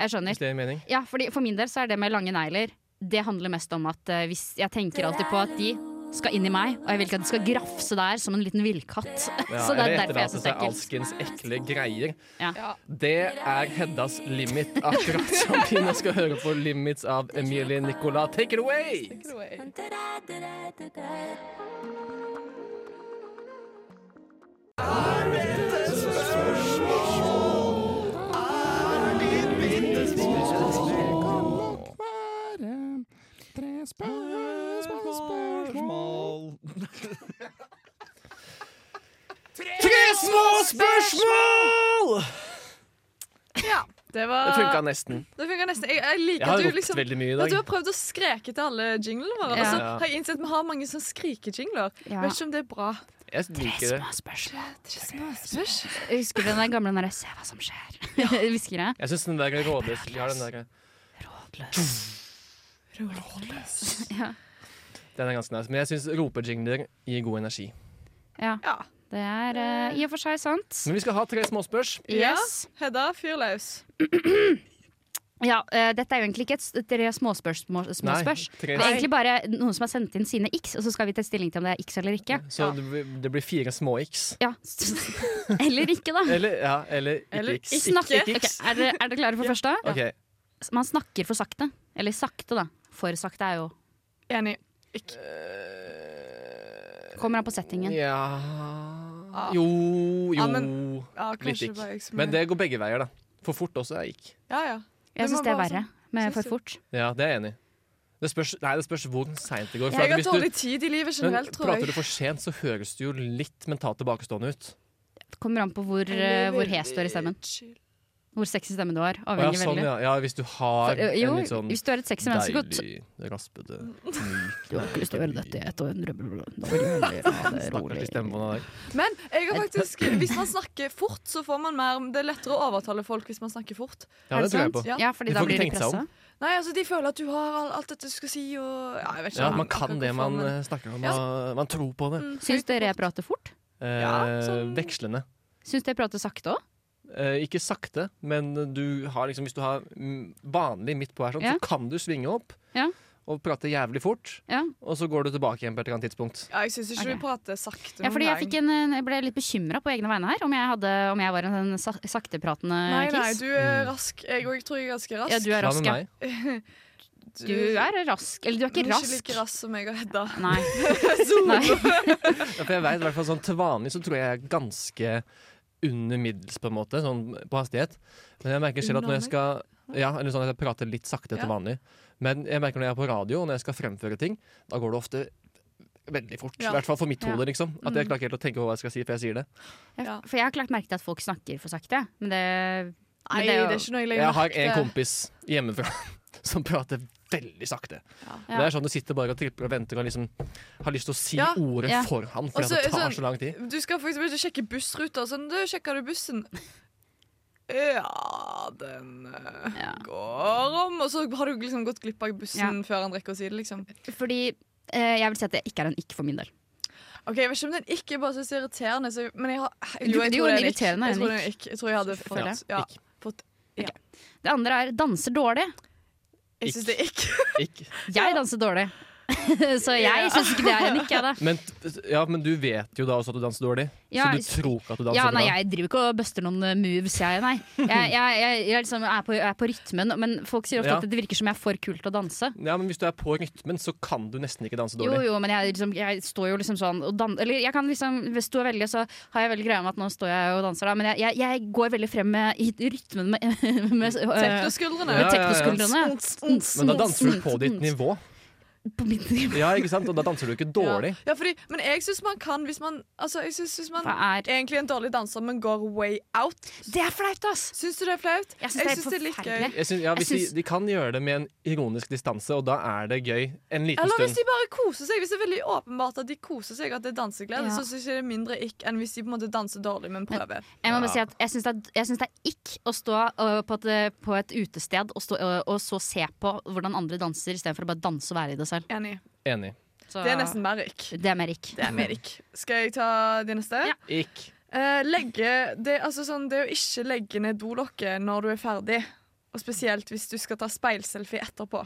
[SPEAKER 3] jeg skjønner.
[SPEAKER 7] hvis det gir mening.
[SPEAKER 3] Ja, fordi for min del så er det med lange negler Det handler mest om at eh, hvis jeg tenker alltid på at de skal inn i meg, og jeg vil ikke at de skal grafse der som en liten villkatt.
[SPEAKER 7] Ja,
[SPEAKER 3] så det er
[SPEAKER 7] eller
[SPEAKER 3] derfor jeg syns det
[SPEAKER 7] etterlate seg
[SPEAKER 3] er ekkelt.
[SPEAKER 7] alskens ekle greier.
[SPEAKER 3] Ja.
[SPEAKER 5] Ja.
[SPEAKER 7] Det er Heddas limit, akkurat som vi nå skal høre på Limits av Emilie Nicolas. Take it away! Tre små spørsmål!
[SPEAKER 5] Ja. Det var
[SPEAKER 7] Det funka nesten.
[SPEAKER 5] Det funka nesten. Jeg, jeg liker
[SPEAKER 7] Jeg har
[SPEAKER 5] at du
[SPEAKER 7] ropt
[SPEAKER 5] liksom
[SPEAKER 7] veldig mye i
[SPEAKER 5] at
[SPEAKER 7] dag.
[SPEAKER 5] du har prøvd å skreke til alle jinglene våre. Og så
[SPEAKER 7] Ja.
[SPEAKER 5] har jeg innsett at vi har mange sånne skrikejingler.
[SPEAKER 3] Ja.
[SPEAKER 5] Vet ikke om det er bra.
[SPEAKER 7] Jeg liker det.
[SPEAKER 5] Det
[SPEAKER 3] spørsmål.
[SPEAKER 5] er ikke småspørs.
[SPEAKER 3] Husker du den der gamle den derre 'se hva som skjer'? Hvisker jeg.
[SPEAKER 7] Jeg syns den der rådløs Vi har den der
[SPEAKER 5] Rådløs.
[SPEAKER 7] Den er ganske nice. Men jeg syns ropejingler gir god energi.
[SPEAKER 3] Ja.
[SPEAKER 5] Ja.
[SPEAKER 3] Det er eh, i og for seg sant.
[SPEAKER 7] Men vi skal ha tre småspørs.
[SPEAKER 3] Yes.
[SPEAKER 5] Hedda, fyr løs.
[SPEAKER 3] Ja, eh, dette er jo egentlig ikke et s- tre småspørs. små- småspørs.
[SPEAKER 7] tre.
[SPEAKER 3] Det er egentlig bare noen som har sendt inn sine x, og så skal vi ta stilling til om det er x eller ikke.
[SPEAKER 7] Så det blir- det blir fire små-x.
[SPEAKER 3] Ja. Eller ikke, da.
[SPEAKER 7] Eller, ja, eller
[SPEAKER 5] Eller
[SPEAKER 7] ikke-x.
[SPEAKER 5] ikke.
[SPEAKER 3] Snakker,
[SPEAKER 7] Ikke x.
[SPEAKER 3] Ok, er, dere, er dere klare for første?
[SPEAKER 7] Ok,
[SPEAKER 3] Man snakker for sakte. Eller sakte, da. For sakte er jo
[SPEAKER 5] Enig.
[SPEAKER 3] Kommer an på settingen.
[SPEAKER 7] Ja Jo, jo.
[SPEAKER 5] Ah. Ja, men- Ja,
[SPEAKER 7] litt
[SPEAKER 5] kanskje
[SPEAKER 7] ikk.
[SPEAKER 5] det var jeg som
[SPEAKER 7] Men det går begge veier, da. For fort også er ikk.
[SPEAKER 5] Ja, ja.
[SPEAKER 3] Jeg
[SPEAKER 5] må
[SPEAKER 3] syns det er
[SPEAKER 5] bare
[SPEAKER 3] verre
[SPEAKER 5] synes
[SPEAKER 3] med for
[SPEAKER 5] du-
[SPEAKER 3] fort.
[SPEAKER 7] Ja, det er jeg enig i. Det spørs, nei, det spørs hvor seint det går.
[SPEAKER 5] Jeg
[SPEAKER 7] at
[SPEAKER 5] har
[SPEAKER 7] hvis du-
[SPEAKER 5] dårlig tid i livet
[SPEAKER 7] men
[SPEAKER 5] generelt, tror
[SPEAKER 7] Prater du
[SPEAKER 5] jeg.
[SPEAKER 7] for sent, så høres du jo litt mentalt tilbakestående ut.
[SPEAKER 3] Kommer an på hvor, eh, hvor hes du er i stemmen.
[SPEAKER 5] Chill.
[SPEAKER 3] Hvor sexy stemmen du har.
[SPEAKER 7] Å, ja,
[SPEAKER 3] Avhenger
[SPEAKER 7] sånn,
[SPEAKER 3] veldig.
[SPEAKER 7] ja. ja, hvis du har
[SPEAKER 3] For, eh, jo,
[SPEAKER 7] en litt sånn
[SPEAKER 3] hvis du er et sexy menneske, godt
[SPEAKER 7] deilig, raspete myk-
[SPEAKER 3] Du har ikke lyst til å gjøre dette i ett århundre.
[SPEAKER 7] Stakkars stemmebåndet der.
[SPEAKER 5] Men jeg har faktisk, hvis man snakker fort, så får man mer Det er lettere å overtale folk hvis man snakker fort.
[SPEAKER 7] Ja, det tror jeg på.
[SPEAKER 5] Ja.
[SPEAKER 3] Ja, fordi
[SPEAKER 7] De
[SPEAKER 3] da
[SPEAKER 7] får ikke
[SPEAKER 3] blir de
[SPEAKER 7] tenkt seg
[SPEAKER 3] pressa.
[SPEAKER 7] om.
[SPEAKER 5] Nei, altså, de føler at du har all- alt dette du skal si, og ja, jeg vet ikke
[SPEAKER 7] Ja,
[SPEAKER 5] om-
[SPEAKER 7] man kan
[SPEAKER 5] akkurat
[SPEAKER 7] det
[SPEAKER 5] hvorfor,
[SPEAKER 7] man
[SPEAKER 5] men-
[SPEAKER 7] eh, snakker om. Man, man tror på det.
[SPEAKER 5] Mm,
[SPEAKER 3] Syns dere jeg prater fort?
[SPEAKER 5] Ja,
[SPEAKER 7] Eh,
[SPEAKER 5] sånn-
[SPEAKER 7] Vekslende.
[SPEAKER 3] Syns dere jeg prater sakte òg?
[SPEAKER 7] Eh, ikke sakte, men du har liksom, hvis du har mm, vanlig midt på her, sånn,
[SPEAKER 3] Ja.
[SPEAKER 7] så kan du svinge opp
[SPEAKER 3] Ja.
[SPEAKER 7] og prate jævlig fort.
[SPEAKER 3] Ja.
[SPEAKER 7] Og så går du tilbake igjen på et eller annet tidspunkt.
[SPEAKER 5] Ja, jeg syns ikke
[SPEAKER 3] Ok.
[SPEAKER 5] vi prater sakte
[SPEAKER 3] Ja, fordi jeg,
[SPEAKER 5] noen
[SPEAKER 3] fikk
[SPEAKER 5] gang.
[SPEAKER 3] en, eh, jeg ble litt bekymra på egne vegne her, om jeg, hadde, om jeg var en sånn sa-
[SPEAKER 5] Nei,
[SPEAKER 3] saktepratende
[SPEAKER 5] nei,
[SPEAKER 3] kiss.
[SPEAKER 5] du
[SPEAKER 7] Mm.
[SPEAKER 5] er rask. Jeg òg tror jeg er ganske rask.
[SPEAKER 3] eh, Ja, du er
[SPEAKER 7] Hva
[SPEAKER 3] rask,
[SPEAKER 7] med
[SPEAKER 3] ja.
[SPEAKER 7] meg?
[SPEAKER 3] Du er rask. Eller du er
[SPEAKER 5] Men
[SPEAKER 3] ikke
[SPEAKER 5] ikke
[SPEAKER 3] rask.
[SPEAKER 5] like rask som jeg og Hedda.
[SPEAKER 3] Nei.
[SPEAKER 5] Zoom.
[SPEAKER 3] nei.
[SPEAKER 7] Ja, for jeg vet, i hvert fall sånn Til vanlig så tror jeg jeg er ganske under middels, på en måte, sånn på hastighet. Men jeg merker selv at når jeg skal Ja, eller sånn at jeg prater litt sakte
[SPEAKER 5] Ja.
[SPEAKER 7] til vanlig. Men jeg merker når jeg er på radio og når jeg skal fremføre ting, da går det ofte veldig fort.
[SPEAKER 5] Ja. Mm.
[SPEAKER 7] I hvert fall for mitt
[SPEAKER 3] Ja.
[SPEAKER 7] hode, liksom. At jeg klarer ikke helt å tenke på hva jeg skal si, for jeg sier det.
[SPEAKER 5] Ja.
[SPEAKER 3] For jeg har klart merket at folk snakker for sakte. Men det,
[SPEAKER 5] Nei, det
[SPEAKER 3] men det,
[SPEAKER 5] er ikke noe jeg legger
[SPEAKER 7] Jeg har
[SPEAKER 5] merke
[SPEAKER 7] en
[SPEAKER 5] til.
[SPEAKER 7] kompis hjemmefra som prater veldig sakte.
[SPEAKER 5] Ja.
[SPEAKER 7] Det er sånn Du sitter bare og tripper og venter og liksom har lyst til å si
[SPEAKER 5] Ja.
[SPEAKER 7] ordet
[SPEAKER 3] Ja.
[SPEAKER 7] for han, for
[SPEAKER 5] Og så-
[SPEAKER 7] det tar
[SPEAKER 5] sånn-
[SPEAKER 7] så lang tid.
[SPEAKER 5] Du skal for eksempel ikke sjekke bussruter. Sånn, du, sjekker du bussen? Ja, den eh,
[SPEAKER 3] Ja.
[SPEAKER 5] går om. Og så har du liksom gått glipp av bussen
[SPEAKER 3] Ja.
[SPEAKER 5] før han rekker å si det, liksom.
[SPEAKER 3] Fordi eh, jeg vil si at det ikke er en ikke for min del.
[SPEAKER 5] Ok, Jeg vet ikke om den ikke bare synes det er irriterende, så, men jeg har
[SPEAKER 3] Du-
[SPEAKER 5] jeg
[SPEAKER 3] jo,
[SPEAKER 5] tror
[SPEAKER 3] den
[SPEAKER 5] det er en ikk.
[SPEAKER 3] irriterende er
[SPEAKER 5] Jeg
[SPEAKER 3] en
[SPEAKER 5] tror det
[SPEAKER 3] ikk.
[SPEAKER 5] er en ikk. Jeg tror jeg hadde fått
[SPEAKER 7] Ja,
[SPEAKER 5] Ja,
[SPEAKER 7] ikk.
[SPEAKER 5] fått
[SPEAKER 3] Det andre er danser dårlig.
[SPEAKER 5] Jeg syns det er ikk.
[SPEAKER 7] Ikke.
[SPEAKER 3] Jeg danser dårlig. Så jeg syns ikke det er en ikke, jeg, da.
[SPEAKER 7] Men, t- ja, men du vet jo da også at du danser dårlig,
[SPEAKER 3] Ja,
[SPEAKER 7] så du tror ikke at du danser
[SPEAKER 3] Ja, nei,
[SPEAKER 7] bra.
[SPEAKER 3] jeg driver ikke og buster noen eh, moves, jeg. Nei. Jeg, jeg, jeg, jeg liksom er, på, er på rytmen, men folk sier ofte
[SPEAKER 7] Ja.
[SPEAKER 3] at det virker som jeg er for kul til å danse.
[SPEAKER 7] Ja, men Hvis du er på rytmen, så kan du nesten ikke danse
[SPEAKER 3] Jo,
[SPEAKER 7] dårlig.
[SPEAKER 3] jo, men jeg, liksom, jeg står jo liksom sånn og dan Eller jeg kan liksom, hvis du er veldig, så har jeg veldig greia med at nå står jeg og danser, da, men jeg, jeg, jeg går veldig frem med, i rytmen med, med øh,
[SPEAKER 5] Tektoskuldrene.
[SPEAKER 3] med
[SPEAKER 7] Ja, ja, ja.
[SPEAKER 3] teknoskuldrene.
[SPEAKER 7] Men da danser du på ditt nivå.
[SPEAKER 3] mm, På mitt nivå.
[SPEAKER 7] Ja, ikke sant? Og da danser du ikke dårlig.
[SPEAKER 5] Ja, fordi, men jeg syns man kan hvis man Altså, jeg synes, hvis man
[SPEAKER 3] Hva
[SPEAKER 5] er
[SPEAKER 3] er-
[SPEAKER 5] egentlig en dårlig danser, men går way out.
[SPEAKER 3] Det er flaut, ass!
[SPEAKER 5] Syns du det er flaut?
[SPEAKER 3] Jeg syns det er
[SPEAKER 5] synes litt
[SPEAKER 3] forferdelig.
[SPEAKER 5] gøy.
[SPEAKER 7] Jeg synes, ja,
[SPEAKER 3] Jeg
[SPEAKER 7] hvis de,
[SPEAKER 3] synes-
[SPEAKER 7] de kan gjøre det med en ironisk distanse, og da er det gøy en liten
[SPEAKER 5] Eller hvis
[SPEAKER 7] stund.
[SPEAKER 5] de bare koser seg. Hvis det er veldig åpenbart at de koser seg, at det er danseglede,
[SPEAKER 3] Ja.
[SPEAKER 5] så syns jeg det er mindre ikk enn hvis de på en måte danser dårlig, men prøver.
[SPEAKER 3] Jeg må bare si
[SPEAKER 7] Ja.
[SPEAKER 3] at jeg syns det, er- jeg syns det er ikk å stå øh, på, et, på et utested og, stå, øh, og så se på hvordan andre danser, istedenfor å bare danse og være i det selv.
[SPEAKER 5] Enig.
[SPEAKER 7] Enig.
[SPEAKER 3] Så,
[SPEAKER 5] Det er nesten mer ikk.
[SPEAKER 3] Det er mer ikk.
[SPEAKER 5] Det er mer ikk. Skal jeg ta de neste?
[SPEAKER 3] Ja.
[SPEAKER 7] Ikk.
[SPEAKER 5] Eh, legge det, altså sånn, det å ikke legge ned dolokket når du er ferdig. Og spesielt hvis du skal ta speilselfie etterpå.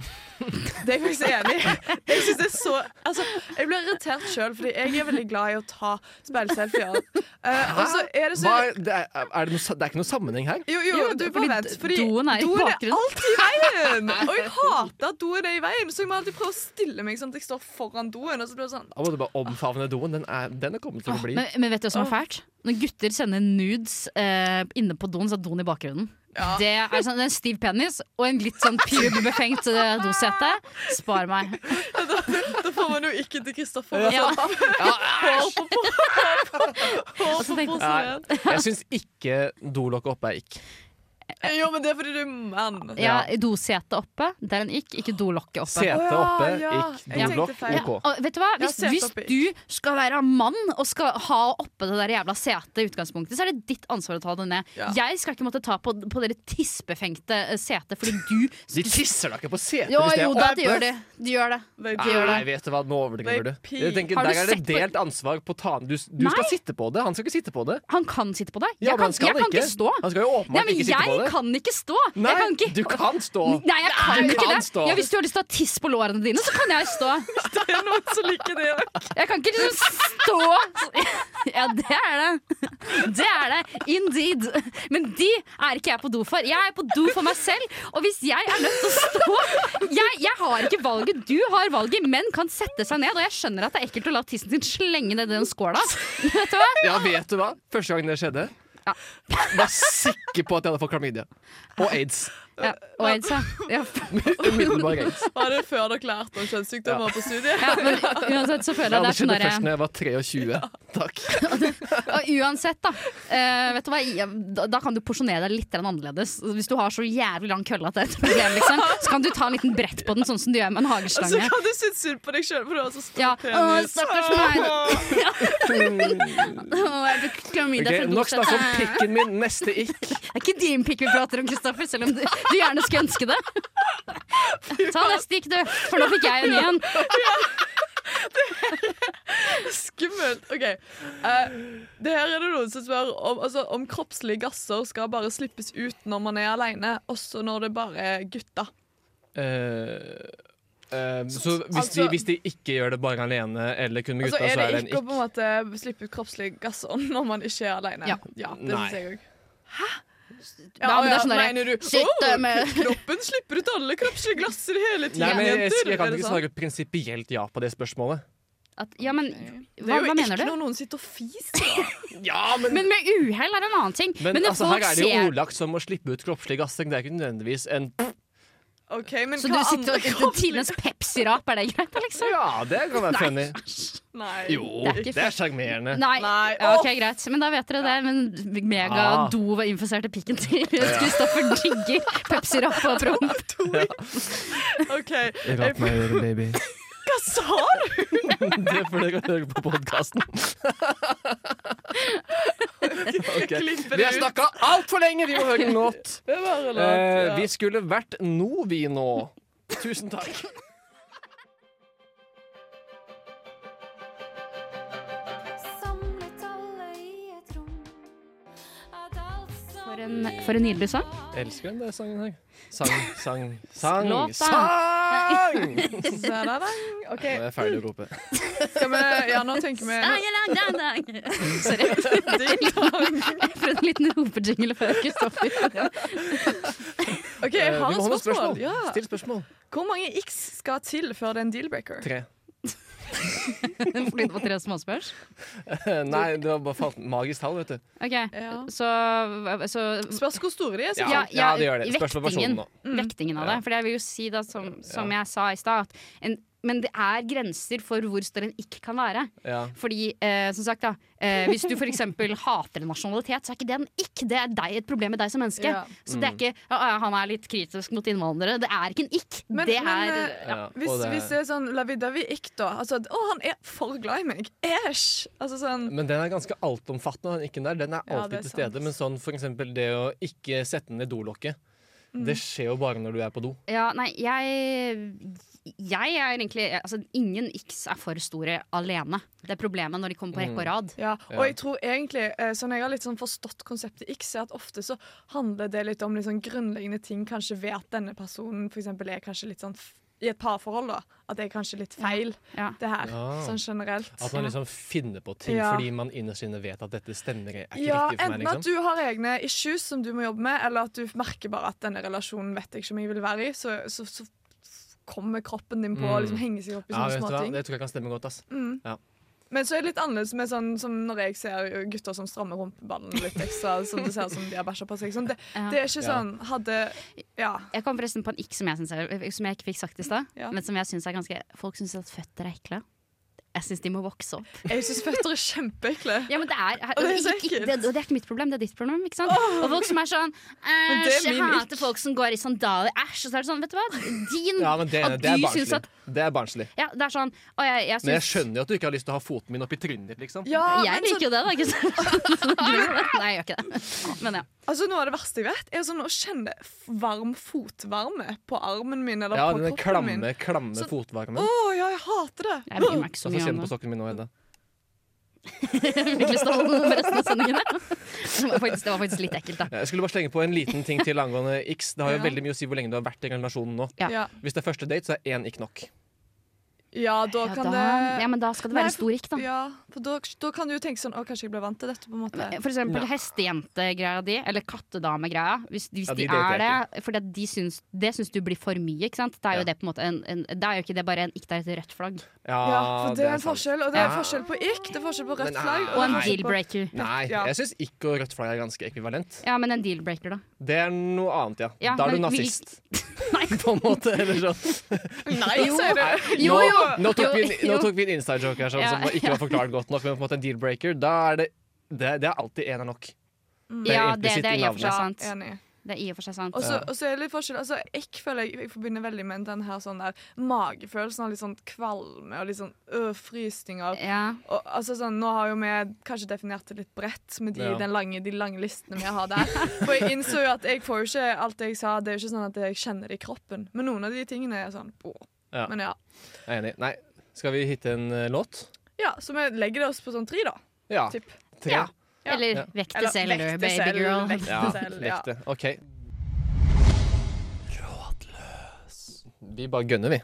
[SPEAKER 5] Det er jeg faktisk enig i. Jeg synes det er så altså, Jeg blir irritert sjøl, fordi jeg er veldig glad i å ta speilselfier. Eh, og så er det så
[SPEAKER 7] Hva er, det, er, er det, noe, sa- det er ikke noe sammenheng her.
[SPEAKER 5] Jo, jo,
[SPEAKER 3] Jo,
[SPEAKER 5] du
[SPEAKER 3] det
[SPEAKER 5] bare
[SPEAKER 3] er fordi
[SPEAKER 5] vent. Fordi
[SPEAKER 3] doen er i bakgrunnen.
[SPEAKER 5] alltid i veien! Og jeg hater at doen er i veien, så jeg må alltid prøve å stille meg sånn at jeg står foran doen. Og så blir det sånn
[SPEAKER 7] Da må du bare omfavne doen. Den er, den er kommet til å bli.
[SPEAKER 3] Ah, Men, men vet du hva som er fælt? Når gutter sender nudes eh, inne på doen, så er doen i bakgrunnen.
[SPEAKER 5] Ja.
[SPEAKER 3] Det er sånn en stiv penis og en litt sånn pubebefengt eh, dosete. Spar meg.
[SPEAKER 5] Da får man jo ikke til Kristoffer.
[SPEAKER 3] Ja.
[SPEAKER 5] og sånn. Hår på- på- på- på- på
[SPEAKER 3] tenkte jeg-
[SPEAKER 5] porselen.
[SPEAKER 7] Jeg syns ikke dolokket oppe er ikk.
[SPEAKER 5] Jo, men det er fordi du er mann.
[SPEAKER 3] Ja, Dosetet oppe, der en gikk, ikke dolokket
[SPEAKER 5] Å
[SPEAKER 3] oppe.
[SPEAKER 7] Sete
[SPEAKER 5] ja,
[SPEAKER 7] oppe,
[SPEAKER 5] ja.
[SPEAKER 7] ikk,
[SPEAKER 5] Jeg tenkte
[SPEAKER 7] dolokk,
[SPEAKER 5] feil.
[SPEAKER 7] OK.
[SPEAKER 3] Og vet du hva?
[SPEAKER 5] Ja,
[SPEAKER 3] Hvis,
[SPEAKER 5] sete
[SPEAKER 3] hvis
[SPEAKER 5] oppe i.
[SPEAKER 3] du skal være mann og skal ha oppe det der jævla setet i utgangspunktet, så er det ditt ansvar å ta det ned.
[SPEAKER 5] Ja.
[SPEAKER 3] Jeg skal ikke måtte ta på, på dere tispefengte eh, setet fordi du
[SPEAKER 7] De tisser da ikke på setet
[SPEAKER 3] Jo,
[SPEAKER 7] hvis det
[SPEAKER 3] jo
[SPEAKER 7] er
[SPEAKER 3] da,
[SPEAKER 7] oppe.
[SPEAKER 3] de gjør det. De gjør det.
[SPEAKER 5] Nei,
[SPEAKER 3] De gjør
[SPEAKER 7] Nei,
[SPEAKER 3] det.
[SPEAKER 7] vet du hva, nå overdriver du.
[SPEAKER 5] Nei, pi.
[SPEAKER 7] Jeg tenker,
[SPEAKER 3] Har du
[SPEAKER 7] der er det
[SPEAKER 3] sett på-
[SPEAKER 7] delt ansvar på ta Du, du
[SPEAKER 3] Nei.
[SPEAKER 7] skal sitte på det, han skal ikke sitte på det.
[SPEAKER 3] Han kan sitte på det.
[SPEAKER 7] Ja,
[SPEAKER 3] Jeg
[SPEAKER 7] men han
[SPEAKER 3] kan,
[SPEAKER 7] skal
[SPEAKER 3] jeg
[SPEAKER 7] det
[SPEAKER 3] kan ikke stå.
[SPEAKER 7] Han skal jo
[SPEAKER 3] Nei,
[SPEAKER 7] åpenbart
[SPEAKER 3] men
[SPEAKER 7] ikke sitte på
[SPEAKER 3] jeg
[SPEAKER 7] det.
[SPEAKER 3] kan ikke stå!
[SPEAKER 7] Nei,
[SPEAKER 3] jeg kan ikke.
[SPEAKER 7] du kan stå.
[SPEAKER 3] Nei, jeg kan
[SPEAKER 7] du
[SPEAKER 3] ikke
[SPEAKER 7] kan
[SPEAKER 3] det.
[SPEAKER 7] stå.
[SPEAKER 3] Ja, hvis du har lyst til å ha tiss på lårene dine, så kan jeg stå.
[SPEAKER 5] Det er noen som liker det òg.
[SPEAKER 3] Jeg kan ikke liksom stå Ja, det er det. Det er det. Indeed. Men de er ikke jeg på do for. Jeg er på do for meg selv. Og hvis jeg er nødt til å stå jeg, jeg har ikke valget. Du har valget. Menn kan sette seg ned. Og jeg skjønner at det er ekkelt å la tissen sin slenge ned i den skåla. Men Vet du hva?
[SPEAKER 7] Ja, vet du hva? Første gang det skjedde,
[SPEAKER 3] Ja.
[SPEAKER 7] var sikker på at jeg hadde fått klamydia. Og aids.
[SPEAKER 3] Ja, og aids, ja. ja.
[SPEAKER 7] Umiddelbar aids.
[SPEAKER 5] Var det før dere lærte om kjønnssykdommer på studiet?
[SPEAKER 3] ja men uansett så føler jeg
[SPEAKER 7] Ja,
[SPEAKER 3] det
[SPEAKER 7] det
[SPEAKER 3] er sånn
[SPEAKER 7] skjedde først
[SPEAKER 3] derre
[SPEAKER 7] når jeg var 23. Takk.
[SPEAKER 3] Og uansett, da. eh, vet du hva, ja, da, da kan du porsjonere deg litt grann annerledes. Altså, Hvis du har så jævlig lang kølle at det er et problem, liksom, så kan du ta en liten brett på den, sånn som du gjør med en
[SPEAKER 5] Og så
[SPEAKER 3] hageslange.
[SPEAKER 5] kan du synes synd på deg sjøl, for du har så stor
[SPEAKER 3] Ja. Å,
[SPEAKER 5] penis.
[SPEAKER 3] stakkars meg.
[SPEAKER 5] Åh.
[SPEAKER 3] Åh, jeg fikk klamydia
[SPEAKER 7] Ok,
[SPEAKER 3] fra
[SPEAKER 7] nok
[SPEAKER 3] dosen.
[SPEAKER 7] snakk om pikken min, neste ikk.
[SPEAKER 3] Det er ikke din pikk vi prater om, Kristoffer, selv om du, du gjerne skulle ønske det. Ta neste gikk, du, for nå fikk jeg en igjen.
[SPEAKER 5] Skummelt. OK. Eh, det her er det noen som spør om, altså, om kroppslige gasser skal bare slippes ut når man er alene, også når det bare er gutter.
[SPEAKER 7] Eh, så hvis, de,
[SPEAKER 5] Altså-
[SPEAKER 7] hvis de ikke gjør det bare alene eller kun med
[SPEAKER 5] Altså,
[SPEAKER 7] gutta,
[SPEAKER 5] er
[SPEAKER 7] så er
[SPEAKER 5] det
[SPEAKER 7] det en
[SPEAKER 5] ikke å
[SPEAKER 7] ikk.
[SPEAKER 5] på en måte slippe ut kroppslige gasser når man ikke er alene?
[SPEAKER 3] Ja.
[SPEAKER 5] det
[SPEAKER 7] Nei.
[SPEAKER 5] syns jeg òg.
[SPEAKER 3] Ja, men det er sånn derre-
[SPEAKER 5] mener du
[SPEAKER 3] Shit, eh,
[SPEAKER 5] «Åh,
[SPEAKER 3] det med-
[SPEAKER 5] Kroppen slipper ut alle kroppslige glasser hele tiden,
[SPEAKER 7] Nei, men jeg,
[SPEAKER 5] jenter.
[SPEAKER 7] jeg
[SPEAKER 5] Er
[SPEAKER 7] kan
[SPEAKER 5] det
[SPEAKER 7] ikke
[SPEAKER 5] sånn?
[SPEAKER 7] svare prinsipielt ja på det spørsmålet.
[SPEAKER 3] At, ja, men
[SPEAKER 5] Det
[SPEAKER 3] hva,
[SPEAKER 5] er jo
[SPEAKER 3] hva mener
[SPEAKER 5] ikke
[SPEAKER 3] du?
[SPEAKER 5] når noen sitter og fiser.
[SPEAKER 7] Ja, men
[SPEAKER 3] Men med uhell er det en annen ting.
[SPEAKER 7] Men,
[SPEAKER 3] når
[SPEAKER 7] altså,
[SPEAKER 3] folk
[SPEAKER 7] her er det jo
[SPEAKER 3] ser-
[SPEAKER 7] ordlagt som å slippe ut kroppslig gassing. Det er ikke nødvendigvis en
[SPEAKER 5] Ok, men
[SPEAKER 3] Så du
[SPEAKER 5] hva
[SPEAKER 3] sitter
[SPEAKER 5] andre
[SPEAKER 3] og til
[SPEAKER 5] kroppslige
[SPEAKER 3] Tines Pepsi-rap, er det greit, da, liksom?
[SPEAKER 7] Ja, det kan være funny.
[SPEAKER 5] Nei.
[SPEAKER 7] Jo,
[SPEAKER 3] Det er ikke
[SPEAKER 7] det er sjarmerende.
[SPEAKER 3] Nei.
[SPEAKER 5] Nei.
[SPEAKER 3] Ja, ok, greit. Men da vet dere det. Men
[SPEAKER 7] Ah.
[SPEAKER 3] mega-do var infisert i pikken til Kristoffer digger Pepsi-rap og promp.
[SPEAKER 5] OK.
[SPEAKER 2] Rap meg i øret, baby.
[SPEAKER 5] Hva sa du?
[SPEAKER 7] Det får dere høre på podkasten.
[SPEAKER 5] Klipper
[SPEAKER 7] Vi
[SPEAKER 5] det
[SPEAKER 7] har
[SPEAKER 5] ut.
[SPEAKER 7] snakka altfor lenge! Vi må høre en låt.
[SPEAKER 5] Det var en låt,
[SPEAKER 7] Eh,
[SPEAKER 5] ja.
[SPEAKER 7] vi skulle vært nå, vi nå. Tusen takk.
[SPEAKER 9] Samlet alle i et rom. At alt som
[SPEAKER 3] For en, for en nydelig sang.
[SPEAKER 7] Elsker den der sangen her. Sang, sang, sang.
[SPEAKER 3] Låta.
[SPEAKER 7] Sang!
[SPEAKER 5] Zadadang. OK,
[SPEAKER 7] Nå er jeg ferdig å rope.
[SPEAKER 5] skal vi Ja, nå tenker vi
[SPEAKER 3] Dang, dang, dang, dang. Sorry. Jeg prøvde en liten ropejingle før Kristoffer.
[SPEAKER 5] OK, jeg
[SPEAKER 7] Eh,
[SPEAKER 5] har
[SPEAKER 7] vi må
[SPEAKER 5] et
[SPEAKER 7] ha noen
[SPEAKER 5] spørsmål. Ja.
[SPEAKER 7] Still spørsmål.
[SPEAKER 5] Hvor mange x skal til før det er en deal-breaker?
[SPEAKER 7] Tre.
[SPEAKER 3] Fordi det var tre småspørs.
[SPEAKER 7] Nei, det var bare falt magisk tall, vet du.
[SPEAKER 3] Ok,
[SPEAKER 5] Ja.
[SPEAKER 3] så, så
[SPEAKER 5] Spørs hvor store de er.
[SPEAKER 7] Ja,
[SPEAKER 5] sikkert.
[SPEAKER 7] ja, det gjør det. Spørs på personen
[SPEAKER 3] vektingen,
[SPEAKER 7] nå.
[SPEAKER 5] Mm.
[SPEAKER 3] vektingen av det. For jeg vil jo si, da, som, som jeg sa i stad, at en- men det er grenser for hvor stor en ikke kan være.
[SPEAKER 7] Ja.
[SPEAKER 3] Fordi, eh, som sagt da eh, Hvis du for eksempel hater en nasjonalitet Så er ikke det en ikk, det er deg, et problem med deg som menneske
[SPEAKER 5] Ja.
[SPEAKER 3] Så det er ikke, «Å, ja, han er litt kritisk mot innvandrere Det er ikke en ikk,
[SPEAKER 5] Men-
[SPEAKER 3] det er
[SPEAKER 5] men, eh,
[SPEAKER 7] Ja, og
[SPEAKER 5] Hvis,
[SPEAKER 7] det-
[SPEAKER 5] hvis det er sånn lavidavi-ikk, da. Altså at 'Å, han er for glad i meg'. Æsj! Altså sånn
[SPEAKER 7] Men den er ganske altomfattende, den ikke der. Den er
[SPEAKER 5] Ja,
[SPEAKER 7] alltid
[SPEAKER 5] det er
[SPEAKER 7] til stede.
[SPEAKER 5] sant.
[SPEAKER 7] Men sånn for eksempel det å ikke sette ned dolokket.
[SPEAKER 5] Mm.
[SPEAKER 7] Det skjer jo bare når du er på do.
[SPEAKER 5] eh,
[SPEAKER 3] Ja, nei, jeg Jeg er egentlig altså, Ingen ikks er for store alene Det er problemet når de kommer på rekke og rad
[SPEAKER 5] Ja,
[SPEAKER 7] Ja.
[SPEAKER 5] og jeg tror egentlig, eh, sånn jeg har litt sånn forstått konseptet X, er at ofte så handler det litt om litt sånn grunnleggende ting, kanskje ved at denne personen for eksempel er kanskje litt sånn, f- i et parforhold da, at det er kanskje litt feil,
[SPEAKER 3] Ja.
[SPEAKER 5] det her,
[SPEAKER 7] Ja.
[SPEAKER 5] sånn generelt.
[SPEAKER 7] At man liksom finner på ting
[SPEAKER 5] Ja.
[SPEAKER 7] fordi man innerst inne vet at dette stemmer. Er ikke
[SPEAKER 5] Ja,
[SPEAKER 7] riktig for meg,
[SPEAKER 5] enten at
[SPEAKER 7] liksom.
[SPEAKER 5] du har egne issues som du må jobbe med, eller at du merker bare at denne relasjonen vet jeg ikke om jeg vil være i, så, så, så kommer kroppen din på å liksom henge seg opp i
[SPEAKER 7] Mm.
[SPEAKER 5] sånne
[SPEAKER 7] Ja, vet du hva?
[SPEAKER 5] småting.
[SPEAKER 7] Det tror jeg kan stemme godt. ass
[SPEAKER 5] Men så er det litt annerledes med sånn som når jeg ser gutter som strammer rumpeballen litt ekstra, som det ser ut som de har bæsja på seg. Sånn, det,
[SPEAKER 3] Ja.
[SPEAKER 5] det er ikke
[SPEAKER 7] Ja.
[SPEAKER 5] sånn Hadde Ja.
[SPEAKER 3] Jeg kom forresten på en ikk som jeg, synes er, som jeg ikke fikk sagt i sted
[SPEAKER 5] Ja.
[SPEAKER 3] Men som jeg synes er ganske Folk synes at føtter er ekle Jeg syns de må vokse opp.
[SPEAKER 5] Jeg syns føtter er kjempeekle.
[SPEAKER 3] Ja, men det er,
[SPEAKER 5] Og det er så
[SPEAKER 3] ikke,
[SPEAKER 5] ekkelt.
[SPEAKER 3] det, og det er ikke mitt problem, det er ditt problem. Ikke sant? Og folk som er sånn
[SPEAKER 5] Men det er
[SPEAKER 3] Æsj, jeg
[SPEAKER 5] min
[SPEAKER 3] hater
[SPEAKER 5] ikk.
[SPEAKER 3] folk som går i sandaler. Æsj. Og så er det sånn, vet du hva. Din
[SPEAKER 7] Ja, men det,
[SPEAKER 3] At
[SPEAKER 7] det er
[SPEAKER 3] du syns
[SPEAKER 7] barnslig.
[SPEAKER 3] at
[SPEAKER 7] Det er barnslig.
[SPEAKER 3] Ja, det er sånn. Og jeg, jeg
[SPEAKER 7] Men jeg
[SPEAKER 3] syns
[SPEAKER 7] skjønner jo at du ikke har lyst til å ha foten min oppi trynet ditt, liksom.
[SPEAKER 5] Ja,
[SPEAKER 3] Jeg
[SPEAKER 5] men sånn-
[SPEAKER 3] liker jo det, da. Ikke sant? Nei, jeg gjør ikke det. Men ja.
[SPEAKER 5] Altså Noe av det verste jeg vet, er sånn å kjenne f- varm fotvarme på armen min eller
[SPEAKER 7] Ja,
[SPEAKER 5] på
[SPEAKER 7] den
[SPEAKER 5] kroppen min.
[SPEAKER 7] klamme, klamme
[SPEAKER 5] Så-
[SPEAKER 7] fotvarmen.
[SPEAKER 5] Å ja, jeg hater det!
[SPEAKER 3] Jeg bryr meg ikke så
[SPEAKER 7] Og så
[SPEAKER 3] mye
[SPEAKER 7] kjenn
[SPEAKER 3] om
[SPEAKER 7] på
[SPEAKER 3] det.
[SPEAKER 7] sokken min nå, Hedda.
[SPEAKER 3] Jeg fikk lyst til å holde den resten av sendingen. jeg. Det var faktisk, det var faktisk litt ekkelt, da.
[SPEAKER 7] Jeg skulle bare slenge på en liten ting til angående X. Det har jo
[SPEAKER 5] Ja.
[SPEAKER 7] veldig mye å si hvor lenge du har vært i relasjonen nå.
[SPEAKER 3] Ja.
[SPEAKER 5] Ja,
[SPEAKER 7] Hvis det er første date, så er én ikke nok.
[SPEAKER 5] ja da
[SPEAKER 3] Ja,
[SPEAKER 5] kan
[SPEAKER 3] da,
[SPEAKER 5] det
[SPEAKER 3] ja, men da skal det
[SPEAKER 5] Nei,
[SPEAKER 3] være stor ikk, da.
[SPEAKER 5] Ja, for da, da kan du jo tenke sånn Å, kanskje jeg ble vant til dette, på en måte.
[SPEAKER 3] For eksempel hestejentegreia di, eller kattedamegreia. Hvis, hvis
[SPEAKER 7] Ja, de
[SPEAKER 3] de,
[SPEAKER 7] dater
[SPEAKER 3] er
[SPEAKER 7] jeg
[SPEAKER 3] det, fordi at de syns, det syns du blir for mye, ikke sant. Det er
[SPEAKER 7] Ja.
[SPEAKER 3] jo, det på en måte en, en, det er jo ikke det bare en ikk, det er et rødt flagg.
[SPEAKER 7] Ja,
[SPEAKER 5] Ja, for det er en
[SPEAKER 7] Ah, sant.
[SPEAKER 5] forskjell, og det er
[SPEAKER 7] Ja.
[SPEAKER 5] forskjell på ikk, det er forskjell på
[SPEAKER 7] Men
[SPEAKER 5] rødt
[SPEAKER 7] nei.
[SPEAKER 5] flagg
[SPEAKER 3] Og en
[SPEAKER 7] Nei.
[SPEAKER 3] deal-breaker.
[SPEAKER 7] Nei,
[SPEAKER 5] Ja.
[SPEAKER 7] jeg syns ikke og rødt flagg er ganske ekvivalent.
[SPEAKER 3] Ja, men en deal-breaker, da.
[SPEAKER 7] Det er noe annet, ja.
[SPEAKER 3] Ja,
[SPEAKER 7] da er du
[SPEAKER 3] men vi-
[SPEAKER 7] nazist,
[SPEAKER 3] Nei.
[SPEAKER 7] på en måte. Eller sånn.
[SPEAKER 5] Nei, sier du!
[SPEAKER 3] Jo,
[SPEAKER 7] nå,
[SPEAKER 3] jo.
[SPEAKER 7] Nå, tok vi, en-
[SPEAKER 3] Jo,
[SPEAKER 7] nå
[SPEAKER 3] jo.
[SPEAKER 7] tok vi en inside joke her som,
[SPEAKER 3] Ja,
[SPEAKER 7] som ikke var forklart godt nok. Men på en måte en deal-breaker, da er det Det, det er alltid én er nok. Det er
[SPEAKER 3] Ja, det,
[SPEAKER 7] implisitt
[SPEAKER 3] det er
[SPEAKER 7] i
[SPEAKER 3] i og for
[SPEAKER 5] Ja,
[SPEAKER 3] seg sant.
[SPEAKER 5] enig.
[SPEAKER 3] Det er i og for seg sant.
[SPEAKER 5] Og så og så er det litt forskjell. Altså, jeg føler jeg, jeg forbinder veldig med den her sånn der magefølelsen av litt sånn kvalme og litt sånn øh, frysninger.
[SPEAKER 3] Ja.
[SPEAKER 5] Og, altså sånn, nå har jo vi kanskje definert det litt bredt med de,
[SPEAKER 7] Ja.
[SPEAKER 5] den lange, de lange listene vi har der. For jeg innså jo at jeg får jo ikke alt jeg sa. Det er jo ikke sånn at jeg kjenner det i kroppen. Men noen av de tingene er sånn åh.
[SPEAKER 7] Ja.
[SPEAKER 5] Men ja.
[SPEAKER 7] Jeg er enig. Nei, skal vi hitte en eh, låt?
[SPEAKER 5] ja. Så vi legger det oss på sånn tre, da.
[SPEAKER 7] Ja.
[SPEAKER 5] Typ.
[SPEAKER 7] Tre.
[SPEAKER 5] Ja. Ja.
[SPEAKER 3] Eller
[SPEAKER 7] Ja.
[SPEAKER 3] vekk
[SPEAKER 5] Eller
[SPEAKER 3] det selv,
[SPEAKER 5] vekk det selv,
[SPEAKER 3] baby girl.
[SPEAKER 5] vekk det
[SPEAKER 7] Ja,
[SPEAKER 5] selv, ja.
[SPEAKER 7] lekte. OK. Rådløs. Vi bare gønner, vi.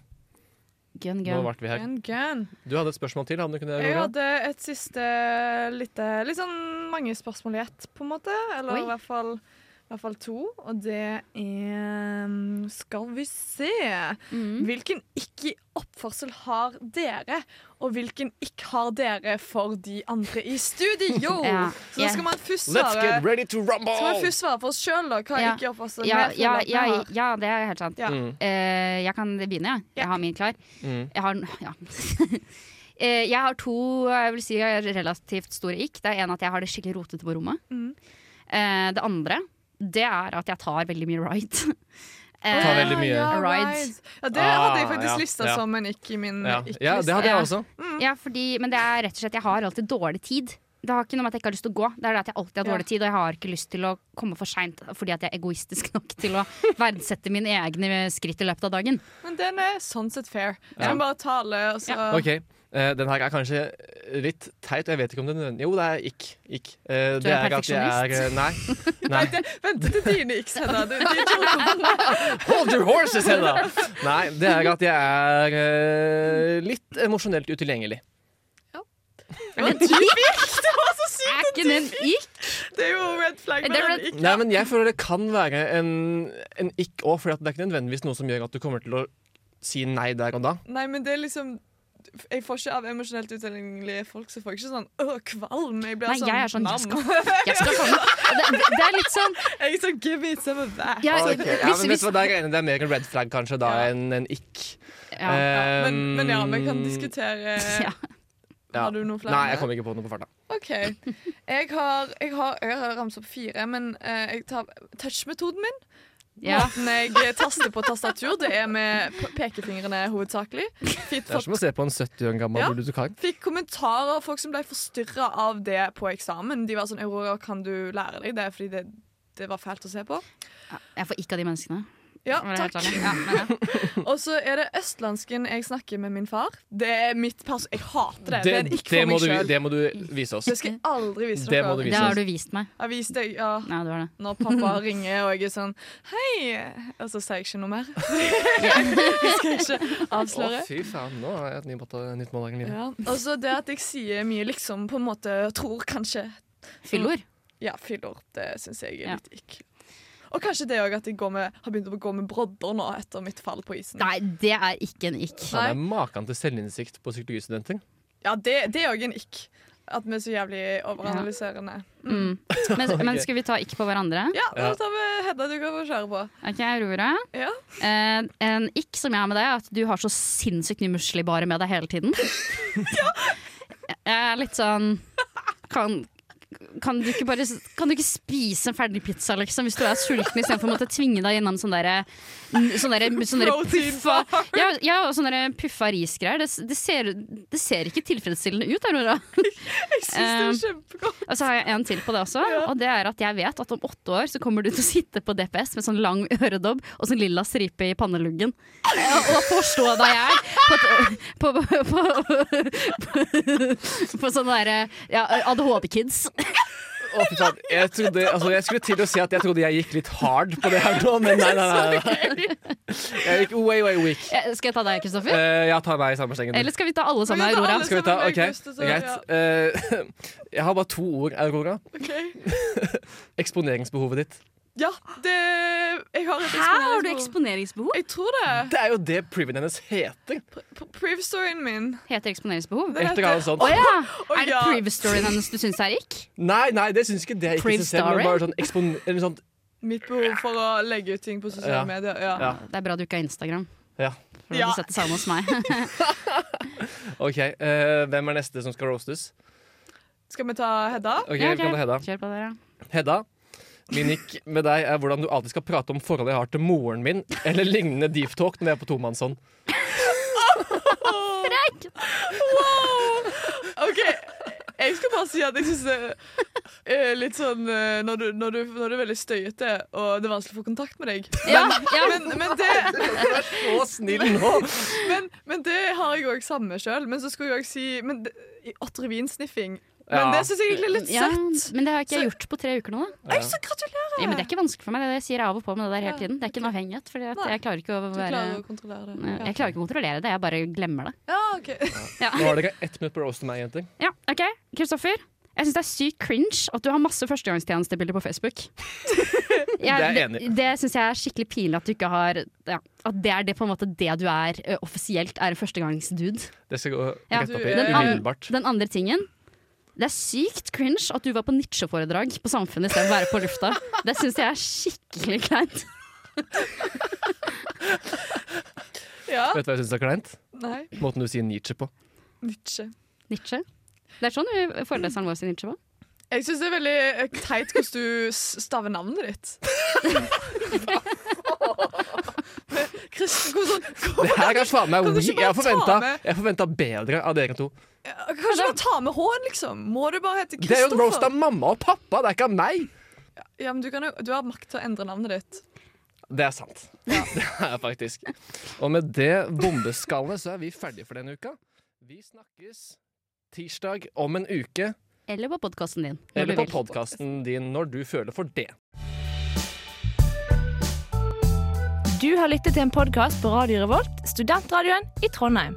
[SPEAKER 3] Gun,
[SPEAKER 7] Nå
[SPEAKER 3] gun.
[SPEAKER 7] ble vi her.
[SPEAKER 5] Gun, gun.
[SPEAKER 7] Du hadde et spørsmål til? Hadde du ikke det,
[SPEAKER 5] Jeg
[SPEAKER 7] Aurora?
[SPEAKER 5] hadde et siste lite Litt sånn mange spørsmål i ett, på en måte. Eller
[SPEAKER 3] Oi.
[SPEAKER 5] i hvert fall i hvert fall to, og det er um, Skal vi se
[SPEAKER 3] Mm.
[SPEAKER 5] Hvilken ikke-oppførsel har dere, og hvilken ikke har dere for de andre i studio?
[SPEAKER 3] Ja.
[SPEAKER 5] Så da skal man først
[SPEAKER 7] Let's
[SPEAKER 5] svare,
[SPEAKER 7] get ready to rumble!
[SPEAKER 5] skal man først svare for oss sjøl, da. Hva
[SPEAKER 3] Ja.
[SPEAKER 5] ikke-oppførsel
[SPEAKER 3] Ja,
[SPEAKER 5] vi
[SPEAKER 3] ja,
[SPEAKER 5] føler at vi
[SPEAKER 3] ja,
[SPEAKER 5] har.
[SPEAKER 3] ja, det er helt sant.
[SPEAKER 5] Ja.
[SPEAKER 7] Mm.
[SPEAKER 3] Eh, jeg kan begynne, jeg. Jeg har min klar.
[SPEAKER 7] Mm.
[SPEAKER 3] Jeg har, ja. Eh, jeg har to jeg vil si, relativt store ikk. Det er en at jeg har det skikkelig rotete på rommet.
[SPEAKER 5] Mm.
[SPEAKER 3] Eh, det andre det er at jeg tar veldig mye right.
[SPEAKER 7] Ta
[SPEAKER 3] Eh,
[SPEAKER 7] veldig mye.
[SPEAKER 5] Ja, rides.
[SPEAKER 3] Rides.
[SPEAKER 5] Ja, det hadde jeg
[SPEAKER 7] Ah,
[SPEAKER 5] faktisk
[SPEAKER 7] ja,
[SPEAKER 5] lista
[SPEAKER 7] ja.
[SPEAKER 5] som en ikke i min
[SPEAKER 7] Ja.
[SPEAKER 5] ikke-liste.
[SPEAKER 7] ja, det hadde
[SPEAKER 3] Ja.
[SPEAKER 7] jeg også.
[SPEAKER 5] Mm.
[SPEAKER 3] ja, fordi, men det er rett og slett jeg har alltid dårlig tid. Det har ikke noe med at jeg ikke har lyst til å gå, det er det at jeg alltid har dårlig
[SPEAKER 5] Ja.
[SPEAKER 3] tid. Og jeg har ikke lyst til å komme for seint fordi at jeg er egoistisk nok til å verdsette mine egne skritt i løpet av dagen.
[SPEAKER 5] Men den er sånn sett fair. Du
[SPEAKER 7] Ja.
[SPEAKER 5] kan bare tale, og så
[SPEAKER 7] OK. eh, den her er kanskje litt teit, og jeg vet ikke om den nødvendig Jo, det er ikk. ikk. Eh,
[SPEAKER 3] Du
[SPEAKER 7] det
[SPEAKER 3] er
[SPEAKER 7] er at jeg er eh, Nei. nei.
[SPEAKER 5] Vent til dine ikke sender. Du, de to kommer.
[SPEAKER 7] Hold your horses, Hedda! Nei, det er at jeg er eh, litt emosjonelt utilgjengelig.
[SPEAKER 3] Men det er
[SPEAKER 5] Det var så sykt!
[SPEAKER 3] ikke en ikk!
[SPEAKER 5] Det er jo red flag.
[SPEAKER 3] Det er
[SPEAKER 5] men
[SPEAKER 3] red-
[SPEAKER 5] ikke.
[SPEAKER 7] Nei, men jeg føler det kan være en, en ikk òg, for det er ikke nødvendigvis noe som gjør at du kommer til å si nei der og da.
[SPEAKER 5] Nei, men det er liksom jeg får ikke av emosjonelt utilgjengelige folk Så får jeg ikke sånn øh, kvalm. Jeg blir
[SPEAKER 3] Nei,
[SPEAKER 5] sånn,
[SPEAKER 3] jeg er sånn,
[SPEAKER 5] nam.
[SPEAKER 3] jeg skal, jeg skal komme. Det, det, det er litt sånn
[SPEAKER 5] Jeg er sånn give me some of that.
[SPEAKER 3] ja,
[SPEAKER 7] Ok,
[SPEAKER 3] hvis,
[SPEAKER 7] Ja, men vet
[SPEAKER 3] hvis,
[SPEAKER 7] du hva, der er jeg enig. Det er mer en red flag kanskje da
[SPEAKER 5] Ja.
[SPEAKER 7] enn en ikk.
[SPEAKER 3] ja.
[SPEAKER 5] Ja, men, men ja, vi kan
[SPEAKER 7] Ehm,
[SPEAKER 5] diskutere
[SPEAKER 3] Ja.
[SPEAKER 7] ja.
[SPEAKER 5] Har du noen flere?
[SPEAKER 7] Nei, jeg kom ikke på noe på farta.
[SPEAKER 5] OK. Jeg har, jeg har, jeg har ramset opp fire, men eh, jeg tar touch-metoden min.
[SPEAKER 3] Ja.
[SPEAKER 5] Måten jeg taster på tastatur, det er med p- pekefingrene hovedsakelig. Fint
[SPEAKER 7] Det er
[SPEAKER 5] fått
[SPEAKER 7] som å se på en 70 år gammel
[SPEAKER 5] Ja.
[SPEAKER 7] bulldukar.
[SPEAKER 5] Fikk kommentarer av folk som ble forstyrra av det på eksamen. De var sånn 'Aurora, kan du lære deg det?' Fordi det, det var fælt å se på.
[SPEAKER 3] Jeg får ikke av de menneskene.
[SPEAKER 5] Ja,
[SPEAKER 3] for å være helt
[SPEAKER 5] takk.
[SPEAKER 3] ærlig. Ja, men, ja.
[SPEAKER 5] Og så er det østlandsken jeg snakker med min far. Det er mitt pers... Jeg hater det. Det, er en ikke
[SPEAKER 7] det,
[SPEAKER 5] for
[SPEAKER 7] må
[SPEAKER 5] meg
[SPEAKER 7] du,
[SPEAKER 5] sjøl. Det,
[SPEAKER 7] det må du vise oss.
[SPEAKER 5] skal jeg aldri vise
[SPEAKER 7] Det
[SPEAKER 5] dere.
[SPEAKER 7] må du vise.
[SPEAKER 3] Det har du vist meg.
[SPEAKER 5] Jeg viste deg, ja.
[SPEAKER 3] Nei, du har det.
[SPEAKER 5] Når pappa ringer og jeg er sånn 'Hei!' Og så sier jeg ikke noe mer. Jeg skal ikke
[SPEAKER 7] Å,
[SPEAKER 5] avsløre.
[SPEAKER 7] fy faen, nå har jeg et ny batteri- nytt mål. Agnine.
[SPEAKER 5] Ja. Og så det at jeg sier mye liksom på en måte tror kanskje
[SPEAKER 3] Fyllord.
[SPEAKER 5] Ja, fyller. Det syns jeg
[SPEAKER 3] Ja.
[SPEAKER 5] er litt ikk. Og kanskje det òg at jeg går med, har begynt å gå med brodder nå etter mitt fall på isen.
[SPEAKER 3] Nei, det er ikke en ikk.
[SPEAKER 7] Faen, det er Maken til selvinnsikt på psykologistudenter.
[SPEAKER 5] Ja, det, det er òg en ikk. At vi er så jævlig overanalyserende.
[SPEAKER 3] Mm. Men, men skal vi ta ikke på hverandre?
[SPEAKER 5] Ja, da tar vi Hedda du kan få kjøre på.
[SPEAKER 3] Ok, Aurora.
[SPEAKER 5] Ja.
[SPEAKER 3] Eh, en ikk som jeg har med deg, er at du har så sinnssykt mye musli bare med deg hele tiden. Jeg er litt sånn kan, kan, du ikke bare, kan du ikke spise en ferdig pizza, liksom, hvis du er sulten, istedenfor å måtte tvinge deg gjennom sånn derre Sånn derre sånn derre
[SPEAKER 5] Protein
[SPEAKER 3] puffa ja, ja, og sånn derre puffa risgreier. Det, det, ser, det ser ikke tilfredsstillende ut, Aurora.
[SPEAKER 5] Jeg
[SPEAKER 3] Um, Eh,
[SPEAKER 5] syns det er kjempegodt.
[SPEAKER 3] Og så har jeg en til på det også. Og det er at jeg vet at om åtte år så kommer du til å sitte på DPS med sånn lang øredobb og sånn lilla stripe i panneluggen. Eh, Og forstå deg jeg på, et- på, på, på, på, på sånne derre ja, ADHD-kids.
[SPEAKER 7] Å, fy faen. Jeg, trodde, altså, jeg skulle til å si at jeg trodde jeg gikk litt hard på det her nå, men nei, nei. nei, nei. Jeg gikk way, way weak.
[SPEAKER 3] Eh, Skal jeg ta deg,
[SPEAKER 7] Uh,
[SPEAKER 3] Kristoffer?
[SPEAKER 7] jeg tar meg i samme slengen.
[SPEAKER 3] Eller skal vi ta alle sammen,
[SPEAKER 5] Vi kan ta
[SPEAKER 3] Aurora?
[SPEAKER 5] alle
[SPEAKER 7] Skal vi ta?
[SPEAKER 5] sammen,
[SPEAKER 7] OK,
[SPEAKER 5] August, og så-
[SPEAKER 7] greit. Eh, jeg har bare to ord, Aurora.
[SPEAKER 5] Ok.
[SPEAKER 7] Eksponeringsbehovet ditt.
[SPEAKER 5] Ja, det Jeg har et
[SPEAKER 3] Hæ, har du
[SPEAKER 5] eksponeringsbehov.
[SPEAKER 3] eksponeringsbehov?
[SPEAKER 5] Jeg tror det.
[SPEAKER 7] Det er jo det priven hennes heter.
[SPEAKER 5] P- Privstoryen min.
[SPEAKER 3] Heter eksponeringsbehov?
[SPEAKER 5] Det
[SPEAKER 7] Et eller annet sånt.
[SPEAKER 3] Å ja!
[SPEAKER 5] Å,
[SPEAKER 3] Er det
[SPEAKER 5] ja.
[SPEAKER 3] previous-storyen hennes du syns er ikk?
[SPEAKER 7] Nei, nei, det syns ikke det. er Ikke
[SPEAKER 3] Priv
[SPEAKER 7] seg selv, men
[SPEAKER 3] story?
[SPEAKER 7] bare sånn ekspon... Eller sånt.
[SPEAKER 5] Mitt behov for å legge ut ting på
[SPEAKER 7] Ja.
[SPEAKER 5] sosiale medier. Ja.
[SPEAKER 7] Ja.
[SPEAKER 3] Det er bra du ikke har Instagram.
[SPEAKER 7] Ja.
[SPEAKER 3] For du
[SPEAKER 5] Ja.
[SPEAKER 3] hadde sett det samme hos meg.
[SPEAKER 7] OK, eh, hvem er neste som skal roastes?
[SPEAKER 5] Skal vi ta Hedda?
[SPEAKER 7] Ok,
[SPEAKER 3] Ja, ok.
[SPEAKER 7] vi kan ta Hedda.
[SPEAKER 3] Kjør på der, ja.
[SPEAKER 7] Hedda, min nikk med deg er hvordan du alltid skal prate om forholdet jeg har til moren min, eller lignende deep talk når vi er på tomannshånd.
[SPEAKER 5] Wow! OK. Jeg skal bare si at jeg syns det er litt sånn eh, når du, når, du, når du er veldig støyete og det er vanskelig å få kontakt med deg.
[SPEAKER 3] Ja, ja.
[SPEAKER 5] Men, men, det,
[SPEAKER 7] Så snill nå!
[SPEAKER 5] men, men det har jeg òg samme sjøl. Men så skulle jeg òg si men det, i åtte revinsniffing. Men
[SPEAKER 7] Ja.
[SPEAKER 5] det syns jeg egentlig er litt
[SPEAKER 3] Ja,
[SPEAKER 5] søtt.
[SPEAKER 3] men det har ikke jeg
[SPEAKER 5] Så-
[SPEAKER 3] gjort på tre uker nå. Da.
[SPEAKER 5] Jeg så gratulerer!
[SPEAKER 3] Ja, men det er ikke vanskelig for meg. Det er det jeg sier av og på med det der hele
[SPEAKER 5] Ja,
[SPEAKER 3] tiden. Det er ikke en avhengighet. Fordi at
[SPEAKER 5] Nei.
[SPEAKER 3] jeg klarer ikke å
[SPEAKER 5] Du
[SPEAKER 3] være
[SPEAKER 5] klarer å kontrollere det.
[SPEAKER 3] Jeg klarer ikke å kontrollere det, jeg bare glemmer det.
[SPEAKER 5] Ja, ok.
[SPEAKER 7] Nå har dere ett minutt på å roaste meg, jenter.
[SPEAKER 3] Ja, OK. Kristoffer. Jeg syns det er sykt cringe at du har masse førstegangstjenestebilder på Facebook. Jeg, det
[SPEAKER 7] er jeg enig
[SPEAKER 3] det, syns jeg er skikkelig pinlig at du ikke har ja, At det er det på en måte det du er ø, offisielt, er en førstegangsdude.
[SPEAKER 7] Det skal gå
[SPEAKER 3] Ja,
[SPEAKER 7] rett opp i
[SPEAKER 5] du er-
[SPEAKER 7] umiddelbart.
[SPEAKER 3] Den andre tingen Det er sykt cringe at du var på Nietzsche-foredrag på Samfunnet istedenfor å være på lufta. Det syns jeg er skikkelig kleint.
[SPEAKER 5] Ja.
[SPEAKER 7] Vet du hva jeg syns er kleint?
[SPEAKER 5] Nei.
[SPEAKER 7] Måten du sier Nietzsche på.
[SPEAKER 5] Nietzsche.
[SPEAKER 3] Nietzsche. Det er sånn vi- foreleseren vår sier Nietzsche på.
[SPEAKER 5] Jeg syns det er veldig eh, teit hvordan du s- staver navnet ditt. Kristen, sånn- hvordan,
[SPEAKER 7] Det her er faen meg
[SPEAKER 5] Kan du ikke
[SPEAKER 7] weak. Jeg
[SPEAKER 5] bare ta
[SPEAKER 7] forventa,
[SPEAKER 5] med-
[SPEAKER 7] jeg forventa bedre av dere to.
[SPEAKER 5] Kanskje du ta med H-en, liksom? Må du bare hete
[SPEAKER 7] Det er jo en roast av
[SPEAKER 5] Kristoffer?
[SPEAKER 7] mamma og pappa, det er ikke av meg!
[SPEAKER 5] Ja, men du, kan, jo- du har makt til å endre navnet ditt.
[SPEAKER 7] Det er sant. Det er faktisk. Og med det bombeskallet så er vi ferdige for denne uka. Vi snakkes tirsdag om en uke.
[SPEAKER 3] Eller på podkasten din. når
[SPEAKER 7] Eller
[SPEAKER 3] du
[SPEAKER 7] på
[SPEAKER 3] vil.
[SPEAKER 7] podkasten din når du føler for det.
[SPEAKER 10] Du har lyttet til en podkast på Radio Revolt, studentradioen i Trondheim.